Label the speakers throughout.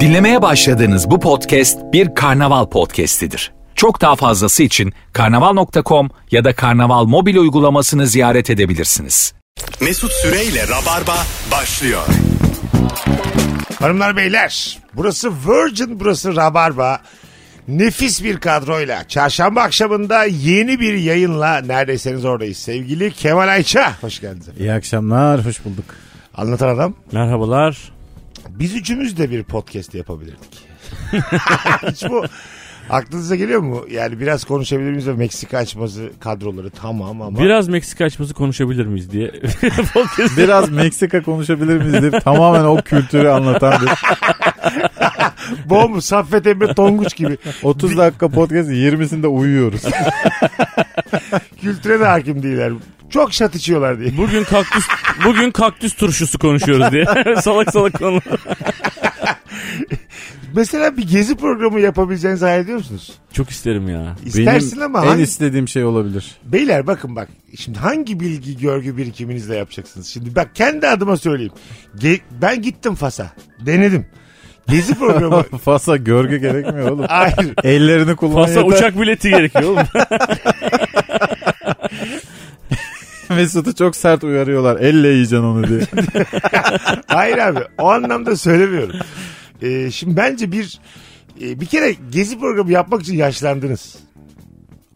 Speaker 1: Dinlemeye başladığınız bu podcast bir karnaval podcastidir. Çok daha fazlası için karnaval.com ya da karnaval mobil uygulamasını ziyaret edebilirsiniz.
Speaker 2: Mesut Süreyle Rabarba başlıyor.
Speaker 3: Hanımlar beyler burası Virgin burası Rabarba. Nefis bir kadroyla çarşamba akşamında yeni bir yayınla neredeyseniz oradayız. Sevgili Kemal Ayça hoş geldiniz. efendim.
Speaker 4: İyi akşamlar, hoş bulduk.
Speaker 3: Anlatan adam
Speaker 5: Merhabalar.
Speaker 3: biz üçümüz de bir podcast yapabilirdik. Hiç bu aklınıza geliyor mu? Yani biraz konuşabilir miyiz ve Meksika açması kadroları tamam ama.
Speaker 5: Biraz Meksika açması konuşabilir miyiz diye. Podcast-
Speaker 4: Biraz Meksika konuşabilir miyiz deyip tamamen o kültürü anlatan bir
Speaker 3: Bom, Saffet Emre Tonguç gibi
Speaker 4: 30 dakika podcast 20'sinde uyuyoruz.
Speaker 3: kültüre de hakim değiller. Çok şat içiyorlar diye.
Speaker 5: bugün kaktüs bugün kaktüs turşusu konuşuyoruz diye. salak salak konular.
Speaker 3: Mesela bir gezi programı yapabileceğinizi hayal ediyor musunuz?
Speaker 5: Çok isterim ya.
Speaker 3: İstersin ama
Speaker 4: en
Speaker 3: hangi-
Speaker 4: istediğim şey olabilir.
Speaker 3: Beyler bakın bak. Şimdi hangi bilgi görgü birikiminizle yapacaksınız? Şimdi bak kendi adıma söyleyeyim. Ge- ben gittim Fas'a. Denedim. Gezi programı.
Speaker 4: Fasa görgü gerekmiyor oğlum.
Speaker 3: Hayır.
Speaker 4: Ellerini kullan
Speaker 5: Pasa
Speaker 4: yeter.
Speaker 5: uçak bileti gerekiyor oğlum.
Speaker 4: Mesut'u çok sert uyarıyorlar. Elle yiyeceksin onu diye.
Speaker 3: Hayır abi. O anlamda söylemiyorum. Ee, şimdi bence bir e, bir kere gezi programı yapmak için yaşlandınız.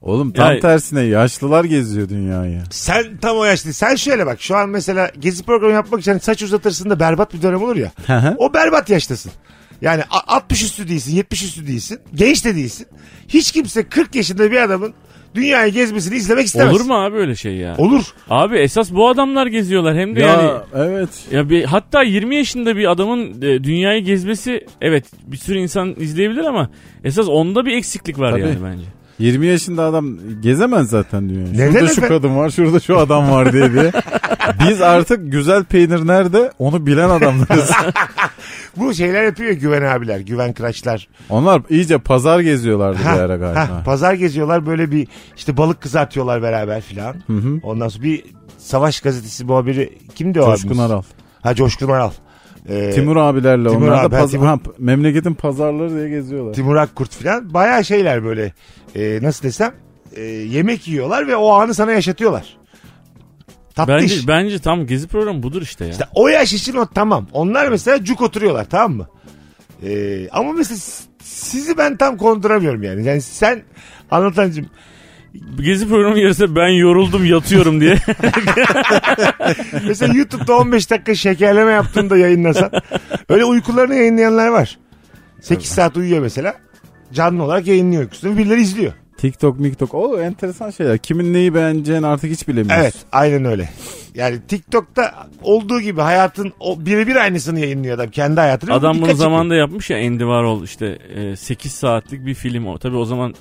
Speaker 4: Oğlum tam
Speaker 5: Ya-
Speaker 4: tersine yaşlılar geziyor dünyayı.
Speaker 3: Sen tam o yaşlı. Sen şöyle bak. Şu an mesela gezi programı yapmak için hani saç uzatırsın da berbat bir dönem olur ya.
Speaker 4: hı.
Speaker 3: o berbat yaştasın. Yani a- 60 üstü değilsin, 70 üstü değilsin, genç de değilsin. Hiç kimse 40 yaşında bir adamın dünyayı gezmesini izlemek istemez.
Speaker 5: Olur mu abi öyle şey ya?
Speaker 3: Olur.
Speaker 5: Abi esas bu adamlar geziyorlar hem de
Speaker 4: Ya
Speaker 5: yani
Speaker 4: evet.
Speaker 5: ya bir, hatta 20 yaşında bir adamın e, dünyayı gezmesi evet bir sürü insan izleyebilir ama esas onda bir eksiklik var
Speaker 4: Tabii.
Speaker 5: yani bence.
Speaker 4: 20 yaşında adam gezemez zaten dünyayı.
Speaker 3: Neden
Speaker 4: şurada şu
Speaker 3: efendim?
Speaker 4: kadın var, şurada şu adam var diye diye. Biz artık güzel peynir nerede onu bilen adamlarız.
Speaker 3: Bu şeyler yapıyor ya Güven abiler, Güven Kıraçlar.
Speaker 4: Onlar iyice pazar geziyorlardı bir ara
Speaker 3: Hah,
Speaker 4: galiba.
Speaker 3: hah, pazar geziyorlar böyle bir işte balık kızartıyorlar beraber filan. Ondan sonra bir savaş gazetesi muhabiri kimdi o
Speaker 4: Coşkun
Speaker 3: abimiz?
Speaker 4: Aral.
Speaker 3: Ha Coşkun Aral. Ee,
Speaker 4: Timur abilerle
Speaker 3: Timur
Speaker 4: onlar
Speaker 3: abi,
Speaker 4: da
Speaker 3: ha,
Speaker 4: paz-
Speaker 3: Timur.
Speaker 4: ha, memleketin pazarları diye geziyorlar.
Speaker 3: Timur Akkurt filan. Bayağı şeyler böyle e, nasıl desem e, yemek yiyorlar ve o anı sana yaşatıyorlar. Tatlı
Speaker 5: Bence
Speaker 3: iş.
Speaker 5: bence tam gezi programı budur işte ya.
Speaker 3: İşte o yaş için o tamam. Onlar mesela cuk oturuyorlar tamam mı? Ee, ama mesela s- sizi ben tam konduramıyorum yani. Yani sen anlatancım
Speaker 5: Gezi programı yarısı ben yoruldum yatıyorum diye.
Speaker 3: mesela YouTube'da 15 dakika şekerleme yaptığında yayınlasan öyle uykularını yayınlayanlar var. 8 saat uyuyor mesela. Canlı olarak yayınlıyor uykusunu. Birileri izliyor.
Speaker 4: TikTok, miktok. O enteresan şeyler. Kimin neyi beğeneceğini artık hiç bilemiyoruz.
Speaker 3: Evet aynen öyle. Yani TikTok'ta olduğu gibi hayatın o birebir aynısını yayınlıyor adam. Kendi hayatını.
Speaker 5: Adam bunu
Speaker 3: Dikkat çekiyor.
Speaker 5: zamanında yapmış ya Andy Warhol işte 8 saatlik bir film o. Tabi o zaman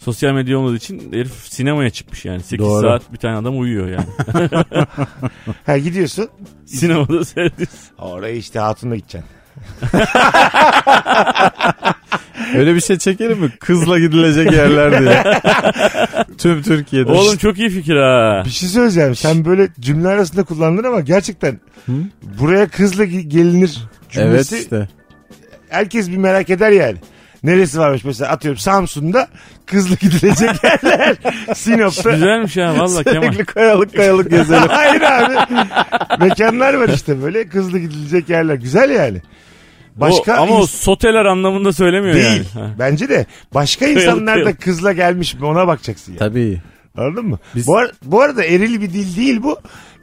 Speaker 5: sosyal medya olmadığı için herif sinemaya çıkmış yani. 8
Speaker 4: Doğru.
Speaker 5: saat bir tane adam uyuyor yani.
Speaker 3: Ha, gidiyorsun.
Speaker 5: Sinemada seyrediyorsun.
Speaker 3: Oraya işte hatunla gideceksin.
Speaker 4: Öyle bir şey çekelim mi? Kızla gidilecek yerler diye. Tüm Türkiye'de.
Speaker 5: Oğlum çok iyi fikir ha.
Speaker 3: şey- Bir şey söyleyeceğim. Sen böyle cümle arasında kullandın ama gerçekten buraya kızla gi- gelinir
Speaker 4: Evet
Speaker 3: cümlesi
Speaker 4: işte.
Speaker 3: herkes bir merak eder yani. Neresi varmış mesela atıyorum Samsun'da kızla gidilecek yerler. Sinop'ta.
Speaker 5: Güzelmiş ha valla
Speaker 3: şey
Speaker 5: Kemal.
Speaker 4: Sürekli kayalık kayalık gezelim.
Speaker 3: Hayır abi. Mekanlar var işte böyle kızla gidilecek yerler. Güzel yani. Başka
Speaker 5: O- ama o
Speaker 3: ins-
Speaker 5: soteler anlamında söylemiyor
Speaker 3: değil.
Speaker 5: yani. Ha.
Speaker 3: Bence de başka insanlar da
Speaker 5: kıyalık.
Speaker 3: kızla gelmiş mi ona bakacaksın yani.
Speaker 4: Tabii.
Speaker 3: Anladın mı?
Speaker 4: Biz-
Speaker 3: Bu, ar- bu arada eril bir dil değil bu.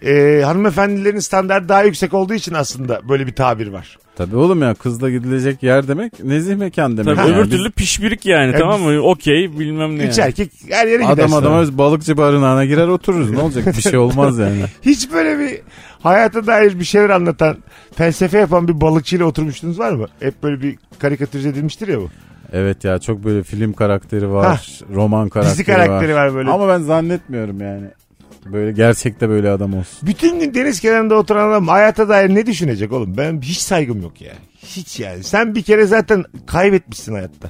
Speaker 3: Ee, hanımefendilerin standartı daha yüksek olduğu için aslında böyle bir tabir var.
Speaker 4: Tabii oğlum ya kızla gidilecek yer demek nezih mekan demek.
Speaker 5: Tabii
Speaker 4: yani.
Speaker 5: öbür
Speaker 4: Biz
Speaker 5: türlü pişbirik yani
Speaker 3: Ya
Speaker 5: tamam mı? Okey bilmem ne.
Speaker 3: Üç
Speaker 5: yani.
Speaker 3: erkek her yere gider.
Speaker 4: Adam adama öz balıkçı barınağına girer otururuz. Ne olacak? Bir şey olmaz yani.
Speaker 3: Hiç böyle bir hayata dair bir şeyler anlatan, felsefe yapan bir balıkçıyla oturmuştunuz var mı? Hep böyle bir karikatürize edilmiştir ya bu.
Speaker 4: Evet ya çok böyle film karakteri var, roman karakteri,
Speaker 3: Dizi karakteri var. böyle.
Speaker 4: Ama ben zannetmiyorum yani. Böyle gerçekte böyle adam olsun.
Speaker 3: Bütün gün deniz kenarında oturan adam hayata dair ne düşünecek oğlum? Ben hiç saygım yok ya. Hiç yani. Sen bir kere zaten kaybetmişsin hayatta.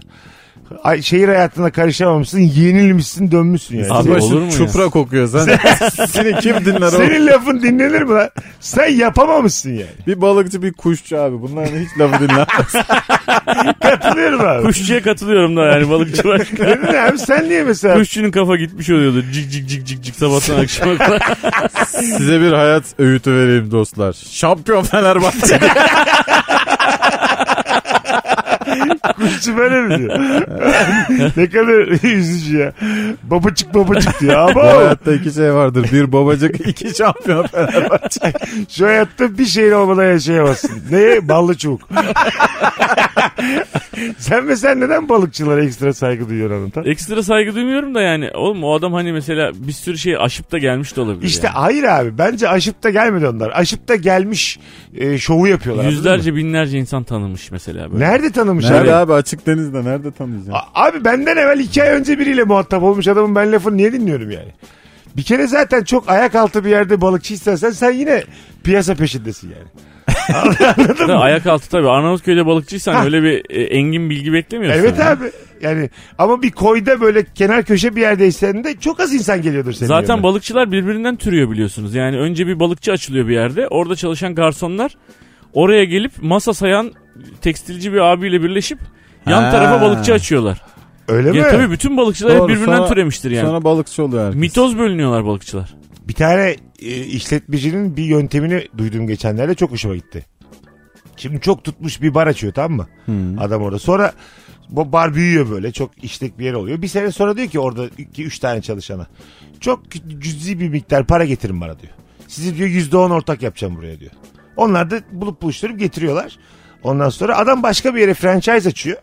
Speaker 3: ay- şehir hayatına karışamamışsın, yenilmişsin, dönmüşsün yani.
Speaker 5: Abi
Speaker 4: Ama
Speaker 5: olur mu ya?
Speaker 4: şu çupra kokuyor. Sen, seni kim dinler o?
Speaker 3: Senin lafın dinlenir mi lan? Sen yapamamışsın yani.
Speaker 4: Bir balıkçı bir kuşçu abi. Bunların hiç lafı dinlenmez.
Speaker 3: Katılıyorum abi.
Speaker 5: Kuşçuya katılıyorum da yani balıkçılar.
Speaker 3: Dedin abi sen niye mesela
Speaker 5: Kuşçunun kafa gitmiş oluyordu. Cik cik cik cik cik sabahtan akşama kadar.
Speaker 4: Size bir hayat öğütü vereyim dostlar. Şampiyon Fenerbahçe.
Speaker 3: kuşçu böyle mi diyor? ne kadar üzücü ya. Babacık babacık diyor
Speaker 4: Bu
Speaker 3: ama
Speaker 4: hayatta iki şey vardır. Bir babacık, iki şampiyon Fenerbahçe.
Speaker 3: şu hayatta bir şeyin olmadan yaşayamazsın. Neye? Ballı çubuk. sen mesela neden balıkçılara ekstra saygı duyuyorsun Anıtan?
Speaker 5: Ekstra saygı duymuyorum da yani. Oğlum o adam hani mesela bir sürü şey aşıp da gelmiş de olabilir.
Speaker 3: İşte
Speaker 5: yani.
Speaker 3: hayır abi bence aşıp da gelmedi onlar. Aşıp da gelmiş e, şovu yapıyorlar. anladın mı?
Speaker 5: Yüzlerce binlerce insan tanımış mesela böyle.
Speaker 3: Nerede tanımış abi?
Speaker 4: Nerede abi açık denizde nerede tanıyacaksın?
Speaker 3: A- Abi benden evvel iki ay önce biriyle muhatap olmuş adamın ben lafını niye dinliyorum yani? Bir kere zaten çok ayak altı bir yerde balıkçı istersen sen yine piyasa peşindesin yani.
Speaker 5: Hatta ayak altı tabii. Arnavutköy'de balıkçıysan
Speaker 3: Ha.
Speaker 5: öyle bir e, engin bilgi beklemiyorsun.
Speaker 3: Evet
Speaker 5: yani.
Speaker 3: abi. Yani ama bir koyda böyle kenar köşe bir yerdeysen de çok az insan geliyordur senin.
Speaker 5: Zaten
Speaker 3: yanına.
Speaker 5: balıkçılar birbirinden türüyor biliyorsunuz. Yani önce bir balıkçı açılıyor bir yerde. Orada çalışan garsonlar oraya gelip masa sayan tekstilci bir abiyle birleşip yan
Speaker 4: Ha.
Speaker 5: tarafa balıkçı açıyorlar.
Speaker 3: Öyle mi?
Speaker 5: Ya tabii bütün balıkçılar hep
Speaker 4: Doğru,
Speaker 5: birbirinden
Speaker 4: sonra-
Speaker 5: türemiştir yani.
Speaker 4: Sonra balıkçı oluyor herkes.
Speaker 5: Mitoz bölünüyorlar balıkçılar.
Speaker 3: Bir tane e, işletmecinin bir yöntemini duydum geçenlerde çok hoşuma gitti. Şimdi çok tutmuş bir bar açıyor tamam mı? Adam orada. Sonra bu bar büyüyor böyle. Çok işlek bir yer oluyor. Bir sene sonra diyor ki orada 2-3 tane çalışana. Çok kü- cüzi bir miktar para getirin bana diyor. Sizi diyor %10 ortak yapacağım buraya diyor. Onlar da bulup buluşturup getiriyorlar. Ondan sonra adam başka bir yere franchise açıyor.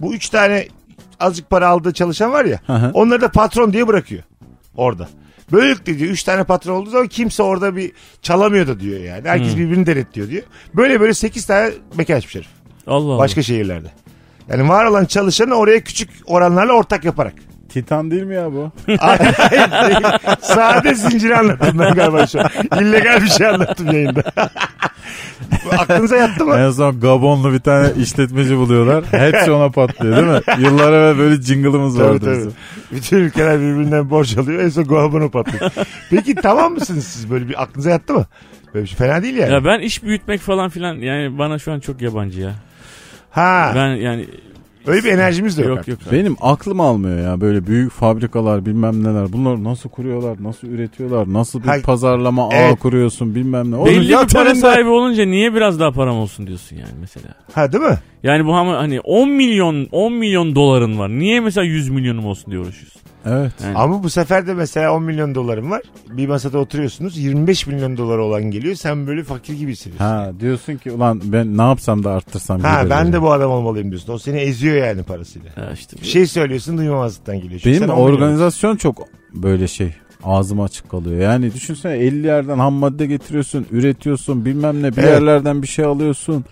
Speaker 3: Bu 3 tane azıcık para aldığı çalışan var ya.
Speaker 4: hı.
Speaker 3: Onları da patron diye bırakıyor orada. Böylelikle diyor 3 tane patron olduğu zaman kimse orada bir çalamıyor da diyor yani.
Speaker 5: Hmm.
Speaker 3: Herkes birbirini denetliyor diyor. Böyle böyle 8 tane mekan açmış herif.
Speaker 5: Allah Allah.
Speaker 3: Başka şehirlerde. Yani var olan çalışanı oraya küçük oranlarla ortak yaparak.
Speaker 4: Titan değil mi ya bu?
Speaker 3: Sade zinciri anlattım ben galiba şu an. İllegal bir şey anlattım yayında. Aklınıza yattı mı?
Speaker 4: en son Gabonlu bir tane işletmeci buluyorlar. Hepsi ona patlıyor değil mi? Yıllar evvel böyle jingle'ımız
Speaker 3: Tabii,
Speaker 4: vardı
Speaker 3: tabii.
Speaker 4: bizim.
Speaker 3: Bütün ülkeler birbirinden borç alıyor. En son Guabano patlıyor. Peki tamam mısınız siz böyle bir aklınıza yattı mı? Böyle bir şey fena değil yani.
Speaker 5: Ya ben iş büyütmek falan filan yani bana şu an çok yabancı ya.
Speaker 3: ha,
Speaker 5: Ben yani
Speaker 3: öyle bir enerjimiz de yok.
Speaker 5: yok
Speaker 3: artık.
Speaker 5: yok.
Speaker 4: Benim aklım almıyor ya böyle büyük fabrikalar bilmem neler. Bunlar nasıl kuruyorlar, nasıl üretiyorlar, nasıl bir
Speaker 3: Hayır.
Speaker 4: pazarlama ağı
Speaker 3: Evet.
Speaker 4: kuruyorsun bilmem ne. Oğlum
Speaker 5: Belli bir
Speaker 4: yat
Speaker 5: para
Speaker 4: önünde.
Speaker 5: sahibi olunca niye biraz daha param olsun diyorsun yani mesela.
Speaker 3: Ha değil mi?
Speaker 5: Yani bu ama hani 10 milyon 10 milyon doların var. Niye mesela 100 milyonum olsun diye uğraşıyorsun?
Speaker 4: Evet.
Speaker 3: Ama bu sefer de mesela 10 milyon dolarım var. Bir masada oturuyorsunuz. 25 milyon dolar olan geliyor. Sen böyle fakir gibi hissediyorsun.
Speaker 4: Ha diyorsun ki ulan ben ne yapsam da arttırsam.
Speaker 3: Ha,
Speaker 4: giderleri."
Speaker 3: ben de bu adam olmalıyım diyorsun. O seni eziyor yani parasıyla.
Speaker 5: Ya işte
Speaker 3: Bir şey söylüyorsun duymamazlıktan geliyor. Çünkü
Speaker 4: Benim
Speaker 3: sen 10 milyon-
Speaker 4: organizasyon çok böyle şey ağzım açık kalıyor. Yani düşünsene 50 yerden ham madde getiriyorsun, üretiyorsun bilmem ne bir
Speaker 3: Evet.
Speaker 4: yerlerden bir şey alıyorsun.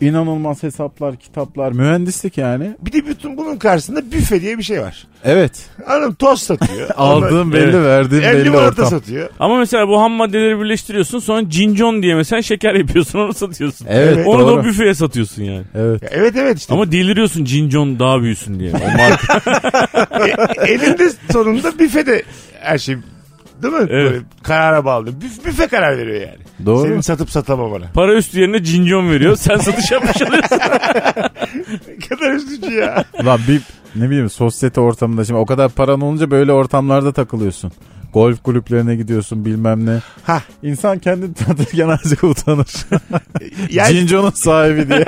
Speaker 4: İnanılmaz hesaplar, kitaplar, mühendislik yani.
Speaker 3: Bir de bütün bunun karşısında büfe diye bir şey var.
Speaker 4: Evet.
Speaker 3: Adam tost satıyor.
Speaker 4: Aldığım belli,
Speaker 5: Evet.
Speaker 4: verdiğim
Speaker 3: Ondan-
Speaker 4: belli
Speaker 3: limonata
Speaker 4: ortam.
Speaker 3: satıyor.
Speaker 5: Ama mesela bu ham maddeleri birleştiriyorsun sonra cincon diye mesela şeker yapıyorsun onu satıyorsun.
Speaker 4: Evet,
Speaker 5: onu da
Speaker 4: doğru.
Speaker 5: büfeye satıyorsun yani.
Speaker 4: Evet.
Speaker 3: Ya evet evet işte.
Speaker 5: Ama deliriyorsun cincon daha büyüsün diye. O marka.
Speaker 3: E- elinde sonunda büfede her şey değil mi? Böyle karara bağlı. Büf- büfe karar veriyor yani.
Speaker 4: Doğru.
Speaker 3: Senin satıp satamamana.
Speaker 5: Para üstü yerine cincon veriyor. Sen satış yapmış oluyorsun.
Speaker 3: Ne kadar üzücü ya.
Speaker 4: Lan bir ne bileyim sosyete ortamında şimdi o kadar paran olunca böyle ortamlarda takılıyorsun. Golf kulüplerine gidiyorsun bilmem ne.
Speaker 3: Hah.
Speaker 4: İnsan kendini tanıtırken azıcık utanır.
Speaker 3: Yani
Speaker 4: Cinco'nun sahibi diye.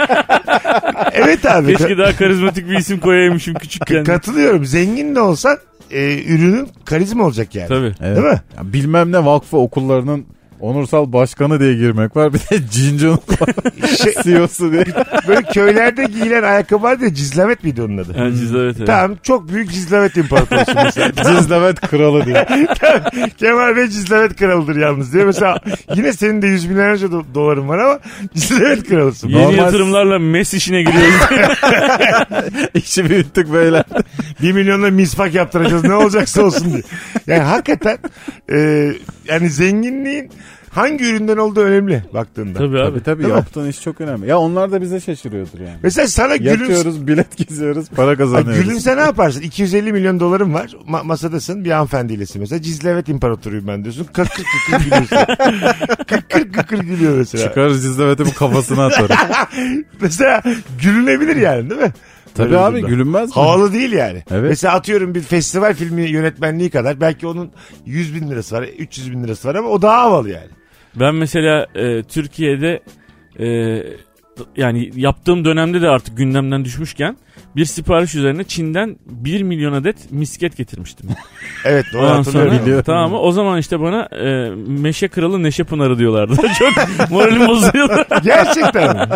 Speaker 3: evet abi.
Speaker 5: Keşke daha karizmatik bir isim koyaymışım küçükken.
Speaker 3: Katılıyorum. Zengin de olsan e, ürünün karizma olacak yani.
Speaker 5: Tabii.
Speaker 4: Evet.
Speaker 3: Değil mi?
Speaker 4: Ya bilmem ne vakfı okullarının onursal başkanı diye girmek var. Bir de Cinco'nun
Speaker 3: Şey,
Speaker 4: CEO'su diye.
Speaker 3: böyle köylerde giyilen ayakkabı vardı ya cizlemet miydi onun adı?
Speaker 5: Yani siz evet, evet.
Speaker 3: Tamam çok büyük cizlemet imparatorsun mesela.
Speaker 4: Cizlemet kralı diye.
Speaker 3: Kemal Bey cizlemet kralıdır yalnız diye. Mesela yine senin de yüz milyonlarca do- doların var ama cizlemet kralısın.
Speaker 5: Yeni
Speaker 4: Normal-
Speaker 5: yatırımlarla mes işine giriyoruz.
Speaker 4: İşi büyüttük böyle.
Speaker 3: Bir milyonla misfak yaptıracağız ne olacaksa olsun diye. Yani hakikaten e, yani zenginliğin Hangi üründen olduğu önemli baktığında.
Speaker 5: Tabii abi.
Speaker 4: Tabii tabii
Speaker 3: Değil mi?
Speaker 4: yaptığın iş çok önemli. Ya onlar da bize şaşırıyordur yani.
Speaker 3: Mesela sana gülümse...
Speaker 4: Yatıyoruz, bilet geziyoruz, para
Speaker 3: Ay,
Speaker 4: kazanıyoruz.
Speaker 3: gülümse ne yaparsın? 250 milyon dolarım var. Ma- masadasın bir hanımefendiylesin mesela. Cizlevet imparatoruyum ben diyorsun. Kakır kıkır gülüyorsun. kıkır kıkır gülüyor mesela.
Speaker 4: Çıkar Cizlevet'i bu kafasına atarım.
Speaker 3: Mesela gülünebilir yani değil mi?
Speaker 4: Tabii
Speaker 3: Böyle
Speaker 4: abi,
Speaker 3: durumda.
Speaker 4: gülünmez mi?
Speaker 3: Havalı değil yani.
Speaker 4: Evet.
Speaker 3: Mesela atıyorum bir festival filmi yönetmenliği kadar belki onun 100 bin lirası var, 300 bin lirası var ama o daha havalı yani.
Speaker 5: Ben mesela e, Türkiye'de e, yani yaptığım dönemde de artık gündemden düşmüşken bir sipariş üzerine Çin'den 1 milyon adet misket getirmiştim.
Speaker 3: Evet doğru
Speaker 5: Ondan
Speaker 3: hatırlıyorum.
Speaker 5: sonra
Speaker 4: Biliyorum.
Speaker 5: tamam mı? O zaman işte bana e, Meşe Kralı Neşe Pınarı diyorlardı. Çok moralim bozuluyordu.
Speaker 3: Gerçekten mi?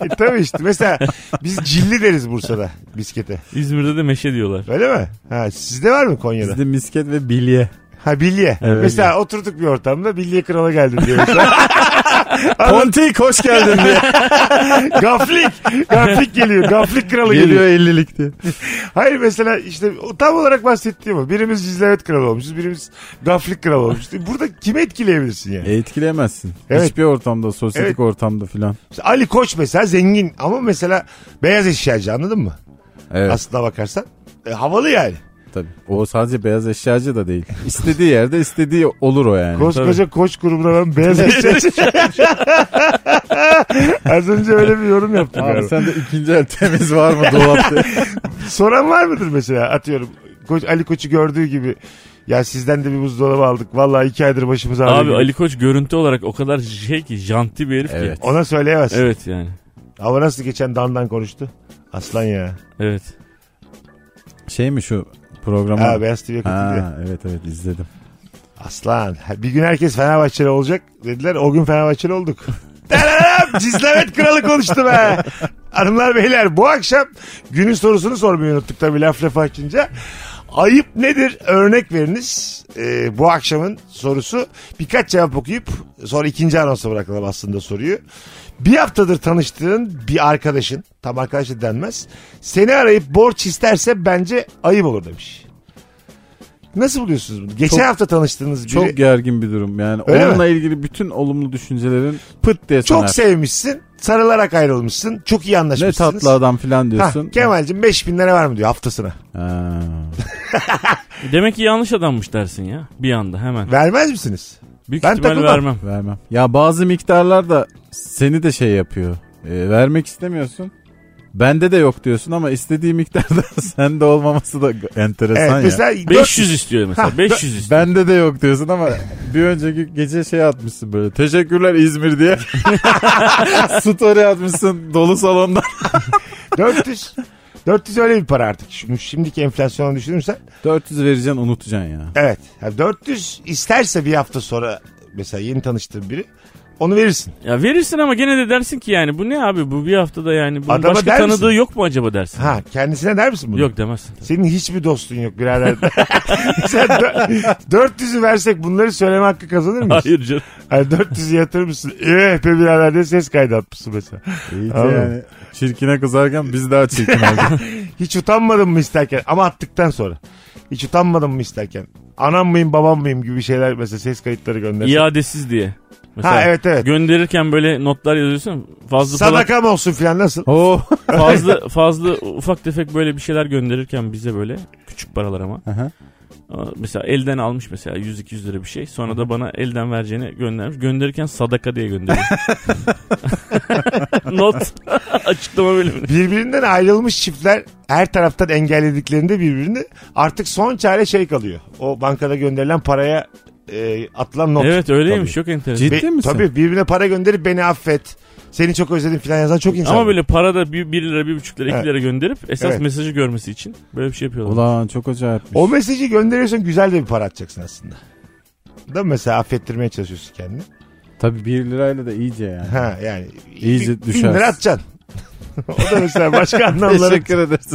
Speaker 3: E, tabii işte mesela biz cilli deriz Bursa'da biskete.
Speaker 5: İzmir'de de Meşe diyorlar.
Speaker 3: Öyle mi? Ha, sizde var mı Konya'da?
Speaker 4: Bizde misket ve bilye.
Speaker 3: Ha bilye.
Speaker 4: Evet.
Speaker 3: mesela oturduk bir ortamda bilye krala geldim diyor mesela.
Speaker 4: Pontik hoş geldin diye.
Speaker 3: gaflik. Gaflik geliyor. Gaflik kralı geliyor.
Speaker 4: Geliyor 50'lik diye.
Speaker 3: Hayır mesela işte o tam olarak bahsettiğim o. Birimiz Cizlevet kralı olmuşuz. Birimiz gaflik kralı olmuşuz. E, Burada kimi etkileyebilirsin yani?
Speaker 4: E, etkileyemezsin.
Speaker 3: Evet.
Speaker 4: Hiçbir ortamda, sosyetik
Speaker 3: Evet.
Speaker 4: ortamda filan.
Speaker 3: İşte Ali Koç mesela zengin ama mesela beyaz eşyacı anladın mı?
Speaker 4: Evet
Speaker 3: Aslına bakarsan. E, havalı yani.
Speaker 4: tabii. O sadece beyaz eşyacı da değil. İstediği yerde istediği olur o yani.
Speaker 3: Koskoca koç grubuna ben beyaz eşyacı. Az önce öyle bir yorum yaptım.
Speaker 4: Abi
Speaker 3: galiba.
Speaker 4: sende ikinci el temiz var mı dolapta?
Speaker 3: Soran var mıdır mesela atıyorum. Koç, Ali Koç'u gördüğü gibi ya sizden de bir buzdolabı aldık. Vallahi iki aydır başımız ağrıyor.
Speaker 5: Abi
Speaker 3: gibi.
Speaker 5: Ali Koç görüntü olarak o kadar şey ki janti bir herif
Speaker 4: Evet.
Speaker 5: ki.
Speaker 3: Ona söyleyemez.
Speaker 5: Evet yani.
Speaker 3: Ama nasıl geçen dandan konuştu? Aslan ya.
Speaker 5: Evet.
Speaker 4: şey mi şu programı?
Speaker 3: Ha, Beyaz TV'ye katıldı.
Speaker 4: Ha, evet evet izledim.
Speaker 3: Aslan. Ha, Bir gün herkes Fenerbahçeli olacak dediler. O gün Fenerbahçeli olduk. Tadam! Cizlemet kralı konuştu be. Hanımlar beyler bu akşam günün sorusunu sormayı unuttuk tabii laf lafı açınca. Ayıp nedir? Örnek veriniz. Ee, bu akşamın sorusu birkaç cevap okuyup sonra ikinci anonsa bırakalım aslında soruyu. Bir haftadır tanıştığın bir arkadaşın tam arkadaş da denmez. Seni arayıp borç isterse bence ayıp olur demiş. Nasıl buluyorsunuz bunu? Geçen
Speaker 4: Çok-
Speaker 3: hafta tanıştığınız biri.
Speaker 4: Çok gergin bir durum yani.
Speaker 3: Öyle
Speaker 4: onunla ilgili bütün olumlu düşüncelerin pıt diye
Speaker 3: Çok
Speaker 4: söner.
Speaker 3: sevmişsin. Sarılarak ayrılmışsın. Çok iyi
Speaker 4: Ne
Speaker 3: anlaşmışsınız.
Speaker 4: tatlı adam filan
Speaker 3: Hah,
Speaker 4: diyorsun.
Speaker 3: Kemal'cim 5000 lira var mı diyor haftasına.
Speaker 4: Ha.
Speaker 5: Demek ki yanlış adammış dersin ya. Bir anda hemen.
Speaker 3: Vermez misiniz?
Speaker 5: Büyük
Speaker 3: ben
Speaker 5: ihtimal
Speaker 3: takılmam.
Speaker 5: vermem.
Speaker 4: Vermem. Ya bazı miktarlar da seni de şey yapıyor. Ee, vermek istemiyorsun. Bende de yok diyorsun ama istediği miktarda sende olmaması da enteresan
Speaker 3: Evet
Speaker 4: ya.
Speaker 3: mesela dört-
Speaker 5: 500 istiyor mesela.
Speaker 3: Ha,
Speaker 5: 500 istiyor.
Speaker 4: Bende de yok diyorsun ama bir önceki gece şey atmışsın böyle. Teşekkürler İzmir diye. Story atmışsın dolu salonda.
Speaker 3: 400. 400 öyle bir para artık. Şimdi, şimdiki enflasyonu düşünürsen.
Speaker 4: 400 vereceksin unutacaksın ya.
Speaker 3: Evet. Yani 400 isterse bir hafta sonra mesela yeni tanıştığın biri onu verirsin.
Speaker 5: Ya verirsin ama gene de dersin ki yani bu ne abi bu bir haftada yani bunun
Speaker 3: Adama
Speaker 5: başka
Speaker 3: der misin?
Speaker 5: tanıdığı yok mu acaba dersin.
Speaker 3: Ha kendisine der misin bunu?
Speaker 5: Yok demezsin.
Speaker 3: Senin hiçbir dostun yok birader. Sen dö- 400'ü versek bunları söyleme hakkı kazanır mıyız?
Speaker 5: Hayır canım.
Speaker 3: Hani 400'ü yatırır mısın? Eh be birader diye ses kaydı atmışsın mesela.
Speaker 4: İyi de
Speaker 3: Anladım.
Speaker 4: yani. Çirkine kızarken biz daha çirkin olduk.
Speaker 3: Hiç utanmadım mı isterken ama attıktan sonra. Hiç utanmadım mı isterken. Anam mıyım babam mıyım gibi şeyler mesela ses kayıtları göndersin.
Speaker 5: İadesiz diye. Mesela
Speaker 3: ha evet evet.
Speaker 5: Gönderirken böyle notlar yazıyorsun. Fazla falan,
Speaker 3: Sadakam olsun filan nasıl?
Speaker 4: Oo.
Speaker 5: fazla fazla ufak tefek böyle bir şeyler gönderirken bize böyle küçük paralar ama.
Speaker 4: Aha.
Speaker 5: Aa, Mesela elden almış mesela 100-200 lira bir şey. Sonra da bana elden vereceğini göndermiş. Gönderirken sadaka diye gönderiyor. Not. Açıklama bölümüne.
Speaker 3: Birbirinden ayrılmış çiftler her taraftan engellediklerinde birbirini artık son çare şey kalıyor. O bankada gönderilen paraya e, atılan not.
Speaker 5: Evet öyleymiş. Çok enteresan.
Speaker 4: Ciddi
Speaker 3: Be-
Speaker 4: misin?
Speaker 3: Tabii birbirine para gönderip beni affet. Seni çok özledim filan yazan çok insan.
Speaker 5: Ama
Speaker 3: var.
Speaker 5: böyle para da 1 lira, 1,5 lira, 2
Speaker 3: Evet.
Speaker 5: lira gönderip esas
Speaker 3: Evet.
Speaker 5: mesajı görmesi için böyle bir şey yapıyorlar.
Speaker 4: Ulan çok acayip.
Speaker 3: O mesajı gönderiyorsan güzel de bir para atacaksın aslında. Da mesela affettirmeye çalışıyorsun kendini.
Speaker 4: Tabii 1 lirayla da iyice yani.
Speaker 3: Ha yani.
Speaker 4: İyice
Speaker 3: bin-
Speaker 4: düşersin.
Speaker 3: Bin lira atacaksın. o da mesela başka anlamları.
Speaker 4: Teşekkür ederiz.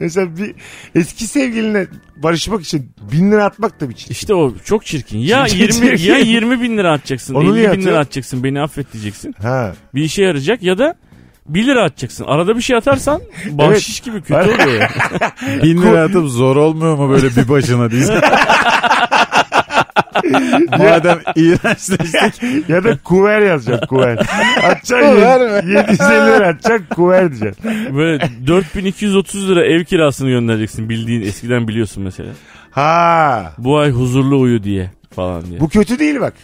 Speaker 3: mesela bir eski sevgiline barışmak için bin lira atmak da bir şey.
Speaker 5: İşte o çok çirkin. Ya
Speaker 3: Çirkin,
Speaker 5: 20
Speaker 3: çirkin.
Speaker 5: ya 20 bin lira atacaksın,
Speaker 3: Onu
Speaker 5: 50
Speaker 3: niye
Speaker 5: bin lira
Speaker 3: atıyor?
Speaker 5: atacaksın, beni affet diyeceksin.
Speaker 3: Ha.
Speaker 5: Bir işe yarayacak ya da 1 lira atacaksın. Arada bir şey atarsan bahşiş gibi
Speaker 4: E,
Speaker 5: kötü oluyor. ya.
Speaker 4: 1000 lira atıp zor olmuyor mu böyle bir başına diye. Madem iğrençleştik.
Speaker 3: ya da kuver yazacak kuver. Atacaksın
Speaker 4: Kuver
Speaker 3: yed- 750 lira atacaksın kuver diyeceksin.
Speaker 5: Böyle 4230 lira ev kirasını göndereceksin bildiğin eskiden biliyorsun mesela.
Speaker 3: Ha.
Speaker 5: Bu ay huzurlu uyu diye falan diye.
Speaker 3: Bu kötü değil bak.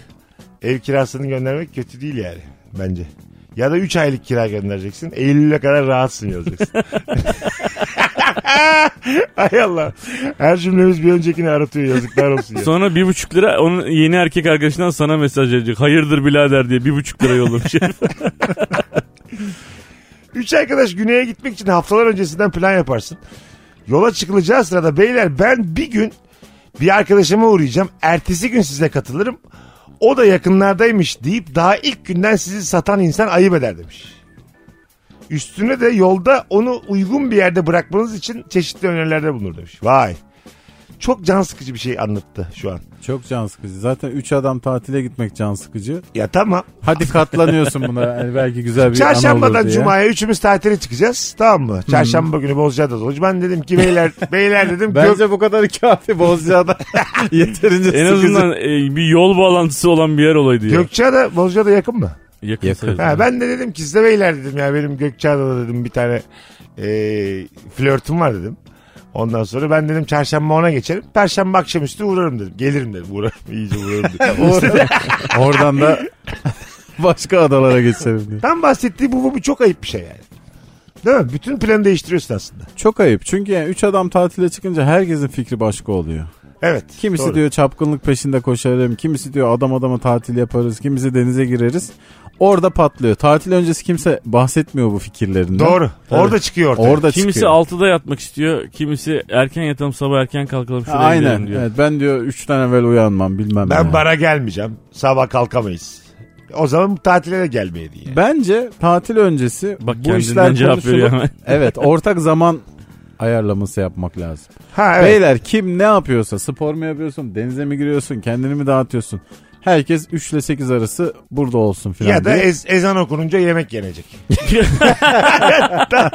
Speaker 3: Ev kirasını göndermek kötü değil yani bence. Ya da 3 aylık kira göndereceksin. Eylül'e kadar rahatsın yazacaksın. Ay Allah. Her cümlemiz bir öncekini aratıyor yazıklar olsun. Ya.
Speaker 5: Sonra bir buçuk lira onun yeni erkek arkadaşından sana mesaj gelecek. Hayırdır birader diye bir buçuk lira yollamış.
Speaker 3: Üç arkadaş güneye gitmek için haftalar öncesinden plan yaparsın. Yola çıkılacağı sırada beyler ben bir gün bir arkadaşıma uğrayacağım. Ertesi gün size katılırım. O da yakınlardaymış deyip daha ilk günden sizi satan insan ayıp eder demiş. Üstüne de yolda onu uygun bir yerde bırakmanız için çeşitli önerilerde bulunur demiş. Vay. Çok can sıkıcı bir şey anlattı şu an.
Speaker 4: Çok can sıkıcı. Zaten 3 adam tatile gitmek can sıkıcı.
Speaker 3: Ya tamam.
Speaker 4: Hadi katlanıyorsun buna. Yani belki güzel bir ana
Speaker 3: Çarşambadan
Speaker 4: olur diye.
Speaker 3: cumaya üçümüz tatile çıkacağız. Tamam mı? Çarşamba günü Bozcaada olacak. Ben dedim ki beyler beyler dedim gök-
Speaker 4: Bence bu kadar kafi Bozcaada yeterince
Speaker 5: en azından e, bir yol bağlantısı olan bir yer olaydı ya.
Speaker 3: Gökçeada Bozcaada yakın mı?
Speaker 5: Yakın
Speaker 4: Yakın.
Speaker 5: sayılır.
Speaker 3: Ha, ben de dedim ki size beyler dedim ya benim Gökçeada'da dedim bir tane e, flörtüm var dedim. Ondan sonra ben dedim çarşamba ona geçerim. Perşembe akşamüstü uğrarım dedim. Gelirim dedim. Uğrarım. iyice uğrarım dedim.
Speaker 4: Oradan, oradan da başka adalara geçelim diye.
Speaker 3: Tam bahsettiği bu, bu, bu çok ayıp bir şey yani. Değil mi? Bütün planı değiştiriyorsun aslında.
Speaker 4: Çok ayıp. Çünkü yani 3 adam tatile çıkınca herkesin fikri başka oluyor.
Speaker 3: Evet.
Speaker 4: Kimisi
Speaker 3: doğru.
Speaker 4: diyor çapkınlık peşinde koşarım. Kimisi diyor adam adama tatil yaparız. Kimisi denize gireriz. Orada patlıyor. Tatil öncesi kimse bahsetmiyor bu fikirlerinden.
Speaker 3: Doğru.
Speaker 4: Tabii.
Speaker 3: Orada çıkıyor ortaya.
Speaker 4: Orada
Speaker 5: Kimisi
Speaker 4: çıkıyor.
Speaker 5: altıda yatmak istiyor. Kimisi erken yatalım sabah erken kalkalım şuraya
Speaker 4: Aynen.
Speaker 5: gidelim diyor.
Speaker 4: Evet, ben diyor 3'ten evvel uyanmam bilmem
Speaker 3: Ben
Speaker 4: ne.
Speaker 3: bara gelmeyeceğim. Sabah kalkamayız. O zaman bu tatile de gelmeyedin yani.
Speaker 4: Bence tatil öncesi
Speaker 5: Bak
Speaker 4: bu
Speaker 5: kendinden
Speaker 4: işler
Speaker 5: cevap
Speaker 4: konuşulup-
Speaker 5: veriyor hemen.
Speaker 4: evet ortak zaman ayarlaması yapmak lazım.
Speaker 3: Ha evet.
Speaker 4: Beyler kim ne yapıyorsa spor mu yapıyorsun denize mi giriyorsun kendini mi dağıtıyorsun herkes 3 ile 8 arası burada olsun filan
Speaker 3: ya da
Speaker 4: diye.
Speaker 3: ez- ezan okununca yemek yenecek.
Speaker 4: anne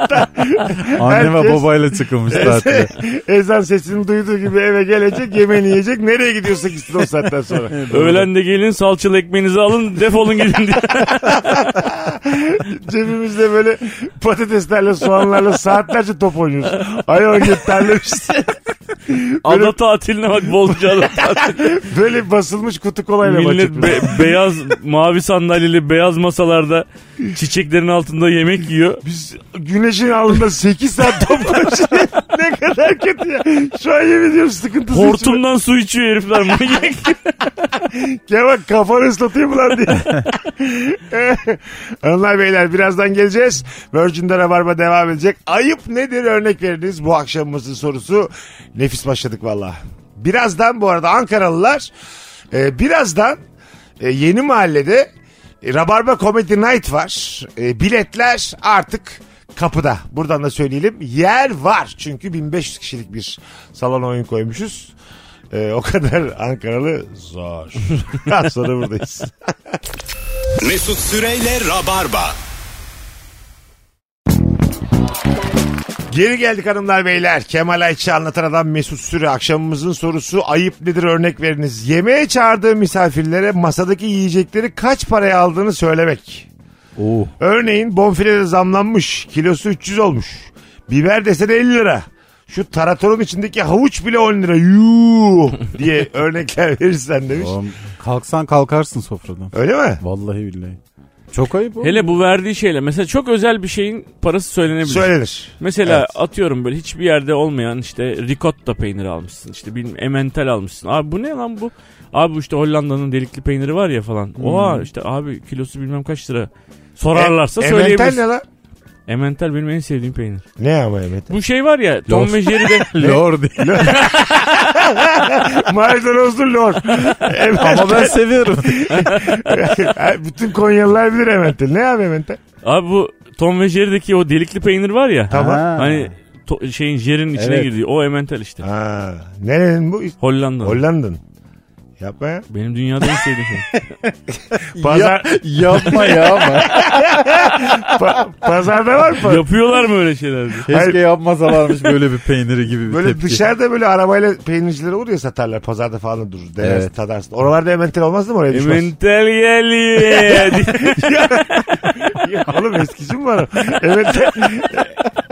Speaker 4: ve
Speaker 3: herkes-
Speaker 4: babayla çıkılmış tatile.
Speaker 3: ezan sesini duyduğu gibi eve gelecek, yemeğini yiyecek. Nereye gidiyorsa gitsin o saatten sonra.
Speaker 5: Öğlen de gelin salçalı ekmeğinizi alın defolun gidin diye.
Speaker 3: Cebimizde böyle patateslerle, soğanlarla saatlerce top oynuyoruz. Ayol git terlemişsin.
Speaker 5: Ada tatiline bak bolca ada tatili.
Speaker 3: Böyle basılmış kutu kolayla
Speaker 5: Millet
Speaker 3: maçı.
Speaker 5: be- beyaz mavi sandalyeli beyaz masalarda çiçeklerin altında yemek yiyor.
Speaker 3: Biz güneşin altında 8 saat top koşuyoruz. ne kadar kötü ya. Şu an yemin ediyorum sıkıntısı. içime-
Speaker 5: Hortumdan su içiyor herifler. Manyak.
Speaker 3: Ya bak kafanı ıslatayım lan diye. Hanımlar beyler birazdan geleceğiz. Virgin'de Rabarba devam edecek. Ayıp nedir örnek veriniz bu akşamımızın sorusu. Nefis başladık valla. Birazdan bu arada Ankaralılar e, birazdan e, yeni mahallede e, Rabarba Comedy Night var. E, biletler artık kapıda. Buradan da söyleyelim. Yer var. Çünkü 1500 kişilik bir salon oyun koymuşuz. E, o kadar Ankaralı zor. Az sonra buradayız.
Speaker 2: Mesut Süreyle Rabarba.
Speaker 3: Geri geldik hanımlar beyler. Kemal Ayça anlatan adam Mesut Süre. Akşamımızın sorusu ayıp nedir örnek veriniz. Yemeğe çağırdığım misafirlere masadaki yiyecekleri kaç paraya aldığını söylemek.
Speaker 4: Oo.
Speaker 3: Örneğin bonfile de zamlanmış. Kilosu 300 olmuş. Biber desene 50 lira. Şu taratorun içindeki havuç bile 10 lira. Yuu diye örnekler verirsen demiş.
Speaker 4: Oğlum, kalksan kalkarsın sofradan.
Speaker 3: Öyle mi?
Speaker 4: Vallahi billahi. Çok ayıp oğlum.
Speaker 5: Hele bu verdiği şeyle mesela çok özel bir şeyin parası söylenebilir.
Speaker 3: Söylenir.
Speaker 5: Mesela
Speaker 3: Evet.
Speaker 5: atıyorum böyle hiçbir yerde olmayan işte ricotta peyniri almışsın. işte bilmem emmental almışsın. Abi bu ne lan bu? Abi bu işte Hollanda'nın delikli peyniri var ya falan.
Speaker 3: Hmm.
Speaker 5: Oha işte abi kilosu bilmem kaç lira. Sorarlarsa
Speaker 3: E- Emmental
Speaker 5: söyleyebilirsin.
Speaker 3: ne lan?
Speaker 5: Emmental benim en sevdiğim peynir.
Speaker 3: Ne ama emmental?
Speaker 5: Bu şey var ya Tom
Speaker 4: Lost.
Speaker 5: ve Jerry'de
Speaker 4: Lor diye.
Speaker 3: Maydanozlu lor. Emmental.
Speaker 4: Ama ben seviyorum.
Speaker 3: Bütün Konyalılar bilir emmental. Ne abi emmental?
Speaker 5: abi bu Tom ve Jerry'deki o delikli peynir var ya.
Speaker 3: Tamam.
Speaker 4: Ha.
Speaker 5: Hani to- şeyin Jerry'nin içine
Speaker 4: Evet.
Speaker 5: girdiği o emmental işte.
Speaker 3: Aa, nerenin bu?
Speaker 5: Hollanda.
Speaker 3: Hollanda'nın. Yapma ya.
Speaker 5: Benim dünyada en sevdiğim şey.
Speaker 3: Pazar,
Speaker 4: Yapma ya ama.
Speaker 3: pa- pazarda var mı?
Speaker 5: Yapıyorlar mı öyle şeyler?
Speaker 4: Keşke yapmasalarmış böyle bir peyniri gibi bir
Speaker 3: Böyle
Speaker 4: tepki.
Speaker 3: dışarıda böyle arabayla peynircileri olur ya satarlar. Pazarda falan da durur. Denersin,
Speaker 4: Evet.
Speaker 3: tadarsın. Oralarda ementel olmaz değil mi? Oraya düşmez.
Speaker 5: Mental geliyor.
Speaker 3: Ya Oğlum eskici mi var? o? Ementel,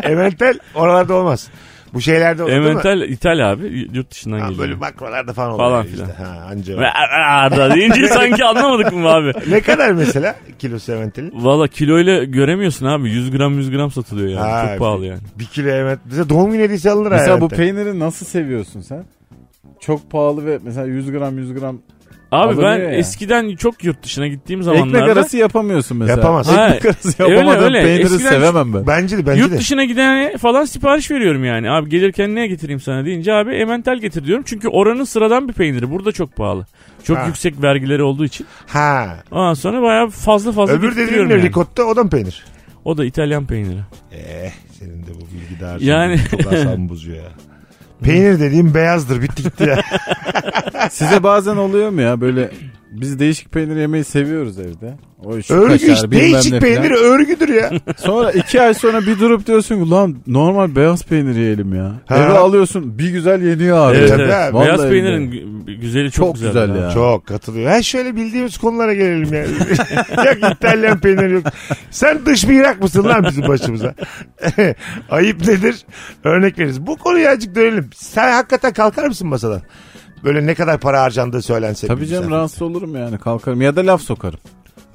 Speaker 3: ementel oralarda olmaz. Bu şeylerde olur değil mi?
Speaker 5: Emmental İtal abi y- yurt dışından
Speaker 3: Ha,
Speaker 5: geliyor.
Speaker 3: böyle makrolarda falan olur.
Speaker 5: Falan
Speaker 3: işte.
Speaker 5: filan.
Speaker 3: Ha, anca o.
Speaker 5: Ve ar- ar- da deyince sanki anlamadık mı abi?
Speaker 3: ne kadar mesela kilosu ementelin?
Speaker 5: Valla kiloyla göremiyorsun abi. 100 gram 100 gram satılıyor yani.
Speaker 3: Ha,
Speaker 5: Çok pahalı yani.
Speaker 3: Bir kilo ementel. Mesela doğum günü hediyesi alınır
Speaker 4: Mesela bu
Speaker 3: ementel.
Speaker 4: peyniri nasıl seviyorsun sen? Çok pahalı ve mesela 100 gram 100 gram
Speaker 5: Abi ben
Speaker 4: Alınıyor ya.
Speaker 5: eskiden çok yurt dışına gittiğim
Speaker 4: ekmek
Speaker 5: zamanlarda
Speaker 4: arası yapamıyorsun mesela.
Speaker 3: Yapamazsın.
Speaker 5: Ha,
Speaker 4: Ekmek arası
Speaker 5: öyle,
Speaker 4: yapamadığım
Speaker 5: öyle.
Speaker 4: peyniri
Speaker 5: Eskiden-
Speaker 4: sevemem ben.
Speaker 3: Bence de bence
Speaker 5: yurt
Speaker 3: de.
Speaker 5: dışına giden falan sipariş veriyorum yani. Abi gelirken ne getireyim sana deyince abi emmental getir diyorum. Çünkü oranın sıradan bir peyniri. Burada çok pahalı. Çok
Speaker 3: Ha.
Speaker 5: yüksek vergileri olduğu için.
Speaker 3: Ha.
Speaker 5: Ondan sonra bayağı fazla fazla
Speaker 3: Öbür dediğin
Speaker 5: getirtiyorum
Speaker 3: ne
Speaker 5: yani.
Speaker 3: ricotta o da mı peynir?
Speaker 5: O da İtalyan peyniri.
Speaker 3: Eh senin de bu bilgi daha
Speaker 5: Yani-
Speaker 3: çok asam bozuyor ya. Peynir dediğim beyazdır bitti gitti ya.
Speaker 4: Size bazen oluyor mu ya böyle biz değişik peynir yemeyi seviyoruz evde. O şu
Speaker 3: Örgü
Speaker 4: kaşar,
Speaker 3: işte
Speaker 4: bilmem
Speaker 3: değişik
Speaker 4: ne filan.
Speaker 3: peynir örgüdür ya.
Speaker 4: Sonra iki ay sonra bir durup diyorsun ki lan normal beyaz peynir yiyelim ya.
Speaker 3: Ha.
Speaker 4: Eve alıyorsun bir güzel yeniyor abi.
Speaker 5: Evet,
Speaker 3: tabii
Speaker 5: evet.
Speaker 3: abi.
Speaker 4: Vallahi
Speaker 5: Beyaz
Speaker 4: öyle.
Speaker 5: peynirin gü- güzeli çok,
Speaker 4: Çok güzel ya.
Speaker 3: Çok katılıyor. Ha şöyle bildiğimiz konulara gelelim ya. yok İtalyan peyniri yok. Sen dış mihrak mısın lan bizim başımıza? Ayıp nedir? Örnek veririz. Bu konuya azıcık dönelim. Sen hakikaten kalkar mısın masadan? Böyle ne kadar para harcandığı söylense.
Speaker 4: Tabii
Speaker 3: bir
Speaker 4: canım
Speaker 3: misafir.
Speaker 4: rahatsız olurum yani kalkarım ya da laf sokarım.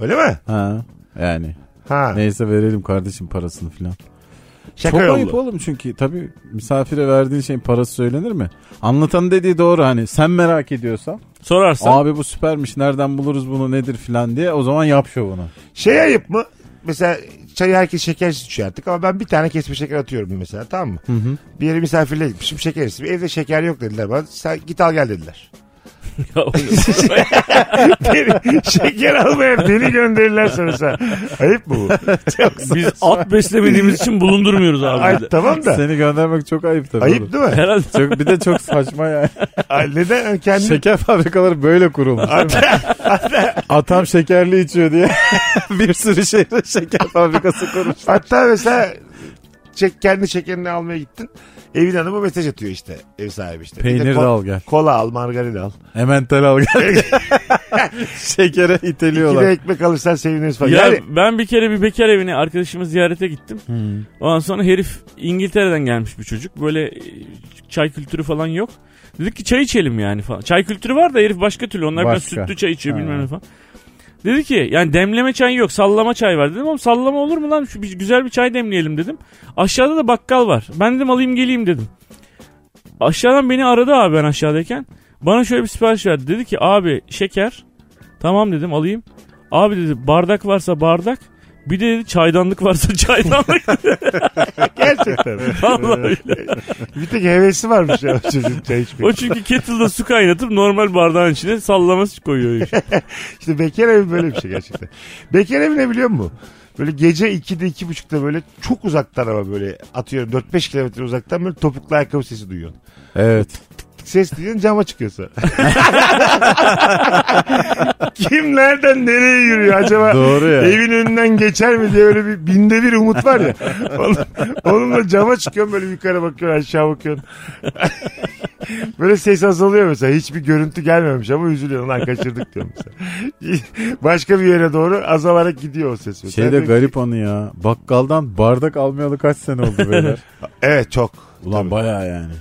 Speaker 3: Öyle mi?
Speaker 4: Ha yani
Speaker 3: Ha.
Speaker 4: neyse verelim kardeşim parasını filan.
Speaker 3: Şaka
Speaker 4: Çok
Speaker 3: yollu.
Speaker 4: ayıp oğlum çünkü tabii misafire verdiğin şeyin parası söylenir mi? Anlatan dediği doğru hani sen merak ediyorsan
Speaker 5: Sorarsan
Speaker 4: abi bu süpermiş nereden buluruz bunu nedir filan diye o zaman yap şovunu.
Speaker 3: Şey ayıp mı? Mesela çayı herkes şekersiz içiyor artık ama ben bir tane kesme şeker atıyorum mesela tamam mı? Bir yere misafirle gitmişim şeker istedim. Evde şeker yok dediler bana. Sen git al gel dediler.
Speaker 5: Ya oğlum,
Speaker 3: Beni şeker almaya beni gönderirler sonra sen. Ayıp mı bu?
Speaker 5: biz at beslemediğimiz için bulundurmuyoruz abi.
Speaker 3: Ay, tamam da.
Speaker 4: Seni göndermek çok ayıp tabii. oğlum.
Speaker 3: Ayıp değil mi?
Speaker 5: Herhalde
Speaker 4: Çok, bir de çok saçma yani.
Speaker 3: Ay, Neden kendi
Speaker 4: Şeker fabrikaları böyle kurulmuş. Atam şekerli içiyor diye bir sürü
Speaker 3: şey
Speaker 4: şehre şeker fabrikası kurmuş.
Speaker 3: Hatta mesela çek, kendi şekerini almaya gittin. Evin hanımı mesaj atıyor işte ev sahibi işte. Bir
Speaker 4: Peynir de
Speaker 3: ko-
Speaker 4: al gel.
Speaker 3: Kola al margarin al.
Speaker 4: Emmental al gel. Şekere
Speaker 3: İki de
Speaker 4: iteliyorlar.
Speaker 3: ekmek alırsan seviniriz falan.
Speaker 5: Ya
Speaker 3: yani,
Speaker 5: ben bir kere bir bekar evine arkadaşımı ziyarete gittim. Ondan sonra herif İngiltere'den gelmiş bir çocuk. Böyle e, çay kültürü falan yok. Dedik ki çay içelim yani falan. Çay kültürü var da herif başka türlü. Onlar biraz
Speaker 4: Başka.
Speaker 5: sütlü çay içiyor
Speaker 4: Ha.
Speaker 5: bilmem ne falan. Dedi ki yani demleme çay yok sallama çay var. Dedim oğlum sallama olur mu lan? Şu bir, güzel bir çay demleyelim dedim. Aşağıda da bakkal var. Ben dedim alayım geleyim dedim. Aşağıdan beni aradı abi ben aşağıdayken. Bana şöyle bir sipariş verdi. Dedi ki abi şeker. Tamam dedim alayım. Abi dedi bardak varsa bardak. Bir de dedi çaydanlık varsa çaydanlık.
Speaker 3: gerçekten.
Speaker 5: Vallahi.
Speaker 3: bir tek hevesi varmış ya çocuğun çay içmeye.
Speaker 5: o çünkü kettle'da su kaynatıp normal bardağın içine sallaması koyuyor.
Speaker 3: İşte bekar evi böyle bir şey gerçekten. bekar evi ne biliyor musun? Böyle gece 2'de 2.30'da böyle çok uzaktan ama böyle atıyorum 4-5 kilometre uzaktan böyle topuklu ayakkabı sesi duyuyorsun.
Speaker 4: Evet.
Speaker 3: Ses duyuyorsun cama çıkıyorsun. Kim nereden nereye yürüyor acaba?
Speaker 4: Doğru ya.
Speaker 3: Evin önünden geçer mi diye öyle bir binde bir umut var ya. Onun, onunla cama çıkıyorsun böyle yukarı bakıyorsun aşağı bakıyorsun. böyle ses azalıyor mesela. Hiçbir görüntü gelmemiş ama üzülüyorsun lan kaçırdık diyorum mesela. Başka bir yere doğru azalarak gidiyor o ses. mesela.
Speaker 4: Şey de garip onu ya. Bakkaldan bardak almayalı kaç sene oldu böyle.
Speaker 3: Evet çok.
Speaker 4: Ulan
Speaker 3: Tabii.
Speaker 4: bayağı yani.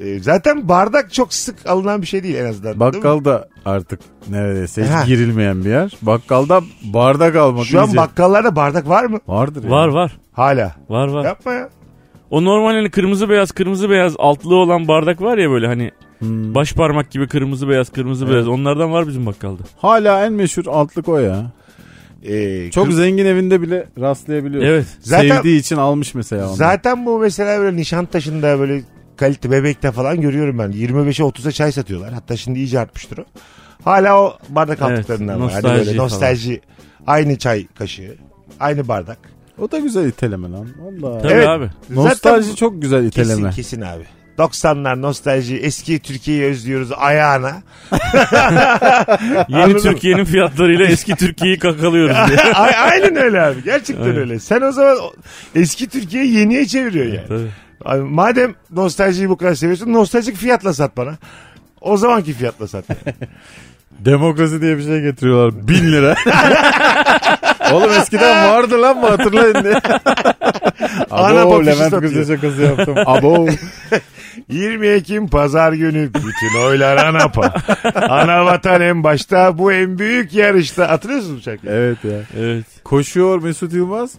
Speaker 3: Ee, zaten bardak çok sık alınan bir şey değil en azından. değil mi?
Speaker 4: Bakkal da artık neredeyse hiç
Speaker 3: Ha.
Speaker 4: girilmeyen bir yer. Bakkalda bardak almak
Speaker 3: Şu an
Speaker 4: iyice-
Speaker 3: bakkallarda bardak var mı?
Speaker 4: Vardır ya.
Speaker 5: var var.
Speaker 3: Hala.
Speaker 5: Var var.
Speaker 3: Yapma ya.
Speaker 5: O normal hani kırmızı beyaz kırmızı beyaz altlı olan bardak var ya böyle hani
Speaker 3: Hmm.
Speaker 5: baş parmak gibi kırmızı beyaz kırmızı beyaz. Onlardan var bizim bakkalda.
Speaker 4: Hala en meşhur altlık o ya.
Speaker 3: Ee,
Speaker 4: Çok
Speaker 3: kız-
Speaker 4: zengin evinde bile rastlayabiliyoruz.
Speaker 5: Evet.
Speaker 3: Zaten-
Speaker 4: Sevdiği için almış mesela onu.
Speaker 3: Zaten bu mesela böyle Nişantaşı'nda böyle kalite bebekte falan görüyorum ben. 25'e 30'a çay satıyorlar. Hatta şimdi iyice artmıştır o. Hala o bardak
Speaker 5: Evet,
Speaker 3: altlıklarından var. Hani
Speaker 5: nostalji
Speaker 3: böyle
Speaker 5: falan.
Speaker 3: nostalji. Aynı çay kaşığı. Aynı bardak.
Speaker 4: O da güzel iteleme lan. Valla.
Speaker 5: Tabii
Speaker 3: Evet.
Speaker 5: abi.
Speaker 3: Zaten
Speaker 4: Nostalji
Speaker 3: bu-
Speaker 4: çok güzel
Speaker 3: Kesin
Speaker 4: iteleme.
Speaker 3: kesin abi. 90'lar nostalji eski Türkiye'yi özlüyoruz ayağına.
Speaker 5: Yeni
Speaker 3: Anladım.
Speaker 5: Türkiye'nin fiyatlarıyla eski Türkiye'yi kakalıyoruz diye.
Speaker 3: A- Aynen öyle abi gerçekten öyle. Sen o zaman o- eski Türkiye'yi yeniye çeviriyorsun yani.
Speaker 5: Tabii.
Speaker 3: Abi madem nostaljiyi bu kadar seviyorsun nostaljik fiyatla sat bana. O zamanki fiyatla sat.
Speaker 4: Demokrasi diye bir şey getiriyorlar. Bin lira. Oğlum eskiden vardı lan mı hatırlayın diye.
Speaker 3: Ana
Speaker 4: Abo
Speaker 3: bakışı
Speaker 4: Levent
Speaker 3: satıyor.
Speaker 4: Kuzey şakası yaptım. Abo.
Speaker 3: 20 Ekim pazar günü bütün oylar ANAP'a. Ana vatan en başta bu en büyük yarışta. Hatırlıyorsunuz mu şarkıyı?
Speaker 4: Evet ya.
Speaker 5: Evet.
Speaker 4: Koşuyor Mesut Yılmaz.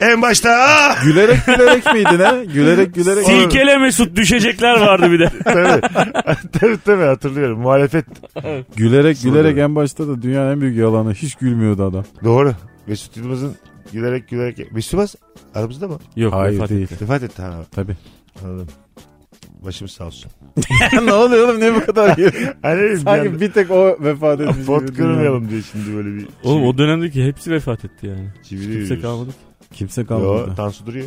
Speaker 3: En başta ah!
Speaker 4: Gülerek gülerek miydi ne? Gülerek gülerek.
Speaker 5: Silkele Mesut düşecekler vardı bir de.
Speaker 3: tabii. tabii tabii hatırlıyorum. Muhalefet
Speaker 4: Gülerek gülerek en başta da dünyanın en büyük yalanı. Hiç gülmüyordu adam.
Speaker 3: doğru. Mesut Yılmaz'ın gülerek gülerek. Mesut Yılmaz aramızda mı?
Speaker 5: Yok
Speaker 4: Hayır
Speaker 5: vefat
Speaker 4: değil.
Speaker 5: etti.
Speaker 3: İfat etti ha.
Speaker 4: Tabii.
Speaker 3: Anladım. Başımız sağ olsun.
Speaker 4: ne oluyor oğlum niye bu kadar
Speaker 3: Hani bir
Speaker 4: Sanki
Speaker 3: anda-
Speaker 4: bir tek o vefat etmiş. gibi
Speaker 3: Pot
Speaker 4: dünyada.
Speaker 3: kırmayalım diye şimdi böyle bir
Speaker 5: Oğlum o dönemdeki hepsi vefat etti yani.
Speaker 3: çivili
Speaker 5: Kimse kalmadı. ki.
Speaker 4: Kimse kalmadı.
Speaker 3: Yo, Tansu duruyor.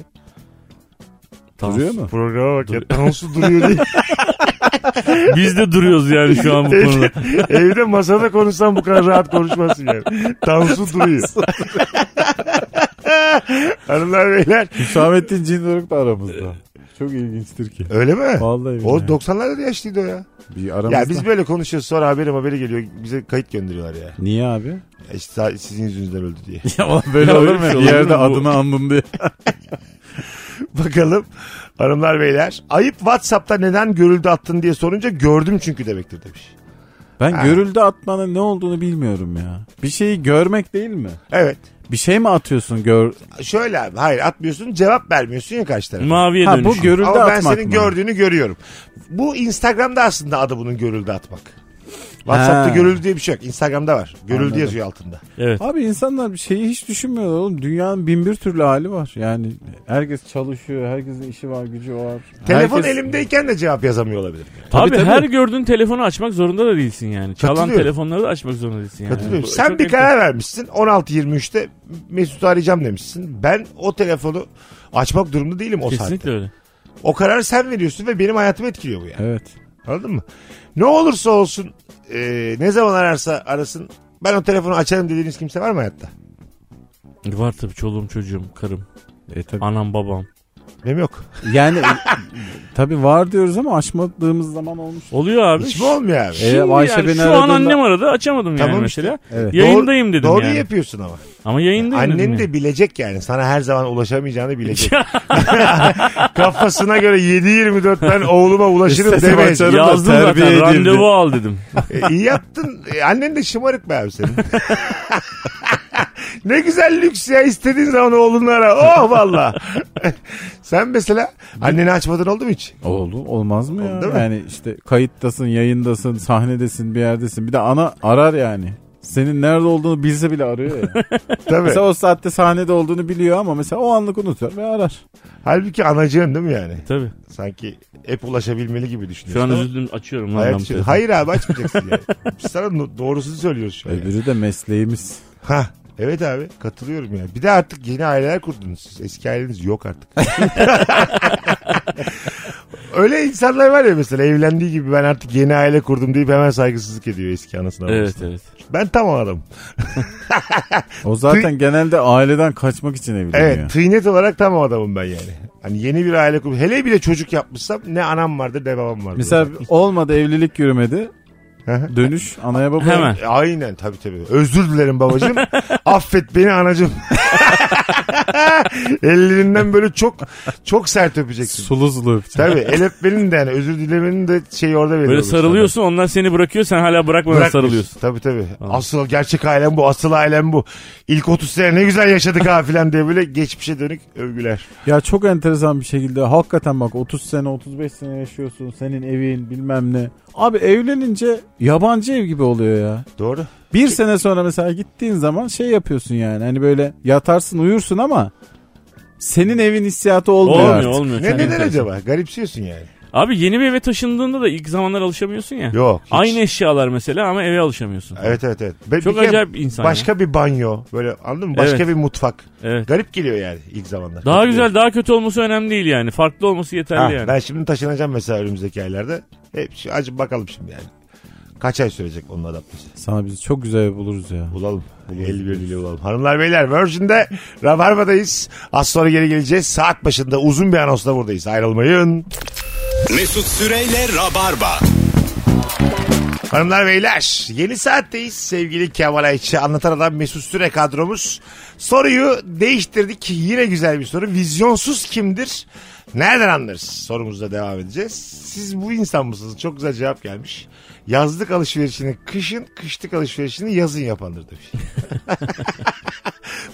Speaker 4: Duruyor mu?
Speaker 3: Programa bak ya Tansu duruyor diye.
Speaker 5: Biz de duruyoruz yani şu an bu konuda.
Speaker 3: evde, evde masada konuşsan bu kadar rahat konuşmazsın yani. Tansu duruyor. Hanımlar beyler.
Speaker 4: Hüsamettin Cindoruk da aramızda. Çok ilginçtir ki.
Speaker 3: Öyle mi?
Speaker 4: Vallahi
Speaker 3: O
Speaker 4: billahi.
Speaker 3: 90'larda da yaşlıydı o ya.
Speaker 4: bir aramızda.
Speaker 3: Ya biz böyle konuşuyoruz sonra haberi haberi geliyor. Bize kayıt gönderiyorlar ya.
Speaker 4: Niye abi?
Speaker 3: Ya İşte sa- sizin yüzünüzden öldü diye.
Speaker 4: Ya oğlum böyle
Speaker 5: Ya
Speaker 4: olur
Speaker 5: öyle bir şey
Speaker 4: mu?
Speaker 5: olur
Speaker 4: Bir yerde
Speaker 5: mu bu?
Speaker 4: adını andım diye.
Speaker 3: Bakalım hanımlar beyler. Ayıp Whatsapp'ta neden görüldü attın diye sorunca gördüm çünkü demektir demiş.
Speaker 4: Ben görüldü atmanın ne olduğunu bilmiyorum ya. Bir şeyi görmek değil mi?
Speaker 3: Evet.
Speaker 4: Bir şey mi atıyorsun gör?
Speaker 3: Şöyle abi hayır atmıyorsun cevap vermiyorsun ya karşı tarafa.
Speaker 5: Maviye
Speaker 4: Ha
Speaker 5: dönüşüm.
Speaker 4: bu görüldü
Speaker 3: Ama ben
Speaker 4: atmak
Speaker 3: senin
Speaker 4: mı?
Speaker 3: gördüğünü görüyorum. Bu Instagram'da aslında adı bunun görüldü atmak. WhatsApp'ta
Speaker 4: Ha.
Speaker 3: görüldü diye bir şey yok. Instagram'da var. Görüldü
Speaker 4: Anladım.
Speaker 3: yazıyor altında.
Speaker 5: Evet.
Speaker 4: Abi insanlar bir şeyi hiç düşünmüyorlar oğlum. Dünyanın bin bir türlü hali var. Yani herkes çalışıyor, herkesin işi var, gücü var.
Speaker 3: Telefon
Speaker 4: Herkes-
Speaker 3: elimdeyken de cevap yazamıyor olabilir.
Speaker 5: Abi
Speaker 4: tabii.
Speaker 5: her gördüğün telefonu açmak zorunda da değilsin yani. Çalan
Speaker 3: Katılıyorum.
Speaker 5: telefonları da açmak zorunda değilsin yani.
Speaker 3: Katılıyorum.
Speaker 5: Bu-
Speaker 3: Sen
Speaker 5: çok
Speaker 3: bir
Speaker 5: enteresan.
Speaker 3: karar vermişsin. 16.23'te Mesut'u arayacağım demişsin. Ben o telefonu açmak durumunda değilim o
Speaker 5: Kesinlikle
Speaker 3: saatte.
Speaker 5: öyle.
Speaker 3: O kararı sen veriyorsun ve benim hayatımı etkiliyor bu yani.
Speaker 4: Evet.
Speaker 3: Anladın mı? Ne olursa olsun e, ne zaman ararsa arasın ben o telefonu açarım dediğiniz kimse var mı hayatta?
Speaker 5: Var tabii çoluğum çocuğum, karım,
Speaker 4: E, tabii.
Speaker 5: anam babam.
Speaker 3: Benim yok.
Speaker 4: Yani tabii var diyoruz ama açmadığımız zaman olmuş.
Speaker 5: Oluyor abi. Şey,
Speaker 3: Hiç mi olmuyor abi?
Speaker 4: E, Ayşe
Speaker 5: yani
Speaker 4: beni
Speaker 5: şu an
Speaker 4: aradığında-
Speaker 5: annem aradı açamadım
Speaker 3: Tamam
Speaker 5: yani
Speaker 3: işte.
Speaker 5: mesela.
Speaker 4: Evet.
Speaker 5: Yayındayım
Speaker 3: Doğru-
Speaker 5: dedim
Speaker 3: doğru
Speaker 5: yani.
Speaker 3: yapıyorsun ama.
Speaker 5: Ama yayındayım dedim
Speaker 3: Annen
Speaker 5: yani.
Speaker 3: de bilecek yani. Sana her zaman ulaşamayacağını bilecek. Kafasına göre 7-24 ben oğluma ulaşırım
Speaker 4: İstesem
Speaker 3: demeyecek.
Speaker 4: açarım.
Speaker 5: Yazdım
Speaker 4: Terbiye
Speaker 5: zaten
Speaker 4: edildi.
Speaker 5: randevu al dedim.
Speaker 3: E, iyi yaptın. E, annen de şımarık be abi senin. ne güzel lüks ya istediğin zaman oğlunu ara. Oh valla. Sen mesela anneni açmadın oldu mu hiç?
Speaker 4: Oldu. Olmaz mı ya?
Speaker 3: Değil mi?
Speaker 4: Yani işte kayıttasın, yayındasın, sahnedesin, bir yerdesin. Bir de ana arar yani. Senin nerede olduğunu bilse bile arıyor ya.
Speaker 3: Tabii.
Speaker 4: mesela o saatte sahnede olduğunu biliyor ama mesela o anlık unutuyor ve arar.
Speaker 3: Halbuki anacığın değil mi yani?
Speaker 5: Tabii.
Speaker 3: Sanki hep ulaşabilmeli gibi
Speaker 5: Şu an
Speaker 3: düşünüyorsun. ama
Speaker 5: üzüldüm açıyorum. lan
Speaker 3: hayat
Speaker 5: ben bu
Speaker 3: için-
Speaker 5: telefonu.
Speaker 3: Hayır abi açmayacaksın yani. Biz sana no- doğrusunu söylüyoruz şu an. yani.
Speaker 4: Öbürü de mesleğimiz.
Speaker 3: Ha evet abi katılıyorum ya. Bir de artık yeni aileler kurdunuz siz. Eski aileniz yok artık. Öyle insanlar var ya mesela evlendiği gibi ben artık yeni aile kurdum deyip hemen saygısızlık ediyor eski anasına.
Speaker 5: Evet
Speaker 3: babasına.
Speaker 5: evet.
Speaker 3: Ben tam o adamım.
Speaker 4: O zaten genelde aileden kaçmak için evleniyor.
Speaker 3: Evet tıynet olarak tam o adamım ben yani. Hani yeni bir aile kurdum. Hele bile çocuk yapmışsam ne anam vardır ne babam vardır.
Speaker 4: Mesela olmadı evlilik yürümedi.
Speaker 3: Hı
Speaker 4: Dönüş anaya babaya.
Speaker 5: Hemen.
Speaker 3: E, Aynen tabii tabii. Özür dilerim babacığım. Affet beni anacığım. Ellerinden böyle çok çok sert öpeceksin.
Speaker 4: Suluzlu öpeceğim.
Speaker 3: Tabii el öpmenin de yani özür dilemenin de şeyi orada veriyor.
Speaker 5: Böyle sarılıyorsun onlar seni bırakıyor sen hala bırakmadan sarılıyorsun.
Speaker 3: Tabii tabii. Asıl gerçek ailem bu. Asıl ailem bu. İlk 30 sene ne güzel yaşadık ha filan diye böyle geçmişe dönük övgüler.
Speaker 4: Ya çok enteresan bir şekilde hakikaten bak 30 sene 35 sene yaşıyorsun senin evin bilmem ne. Abi evlenince yabancı ev gibi oluyor ya.
Speaker 3: Doğru.
Speaker 4: Bir sene sonra mesela gittiğin zaman şey yapıyorsun yani hani böyle yatarsın uyursun ama senin evin hissiyatı olmuyor,
Speaker 5: Olmuyor
Speaker 4: artık.
Speaker 5: olmuyor.
Speaker 3: Ne
Speaker 5: Çok
Speaker 3: neden
Speaker 5: enteresan.
Speaker 3: acaba? Garipsiyorsun yani.
Speaker 5: Abi yeni bir eve taşındığında da ilk zamanlar alışamıyorsun ya.
Speaker 3: Yok, hiç.
Speaker 5: Aynı eşyalar mesela ama eve alışamıyorsun.
Speaker 3: Evet evet evet. Ben
Speaker 5: Çok
Speaker 3: bir kere
Speaker 5: acayip insan ya.
Speaker 3: Başka bir banyo böyle anladın mı? Başka
Speaker 5: Evet.
Speaker 3: bir mutfak.
Speaker 5: Evet.
Speaker 3: Garip geliyor yani ilk zamanlar.
Speaker 5: Daha
Speaker 3: Garip
Speaker 5: güzel,
Speaker 3: geliyor.
Speaker 5: daha kötü olması önemli değil yani. Farklı olması yeterli
Speaker 3: Ha,
Speaker 5: yani.
Speaker 3: Ah, Ben şimdi taşınacağım mesela önümüzdeki aylarda. Hep şu- acı bakalım şimdi yani. Kaç ay sürecek onun adaptesi?
Speaker 4: Sana biz çok güzel buluruz ya.
Speaker 3: Bulalım. 51 bile bulalım. Hanımlar beyler Virgin'de Rabarba'dayız. Az sonra geri geleceğiz. Saat başında uzun bir anonsla buradayız. Ayrılmayın.
Speaker 2: Mesut Süreyle Rabarba.
Speaker 3: Hanımlar beyler yeni saatteyiz sevgili Kemal Ayçi anlatan adam Mesut Süre kadromuz. Soruyu değiştirdik yine güzel bir soru vizyonsuz kimdir nereden anlarız sorumuzla devam edeceğiz. Siz bu insan mısınız çok güzel cevap gelmiş. Yazlık alışverişini kışın kışlık alışverişini yazın yapandır demiş.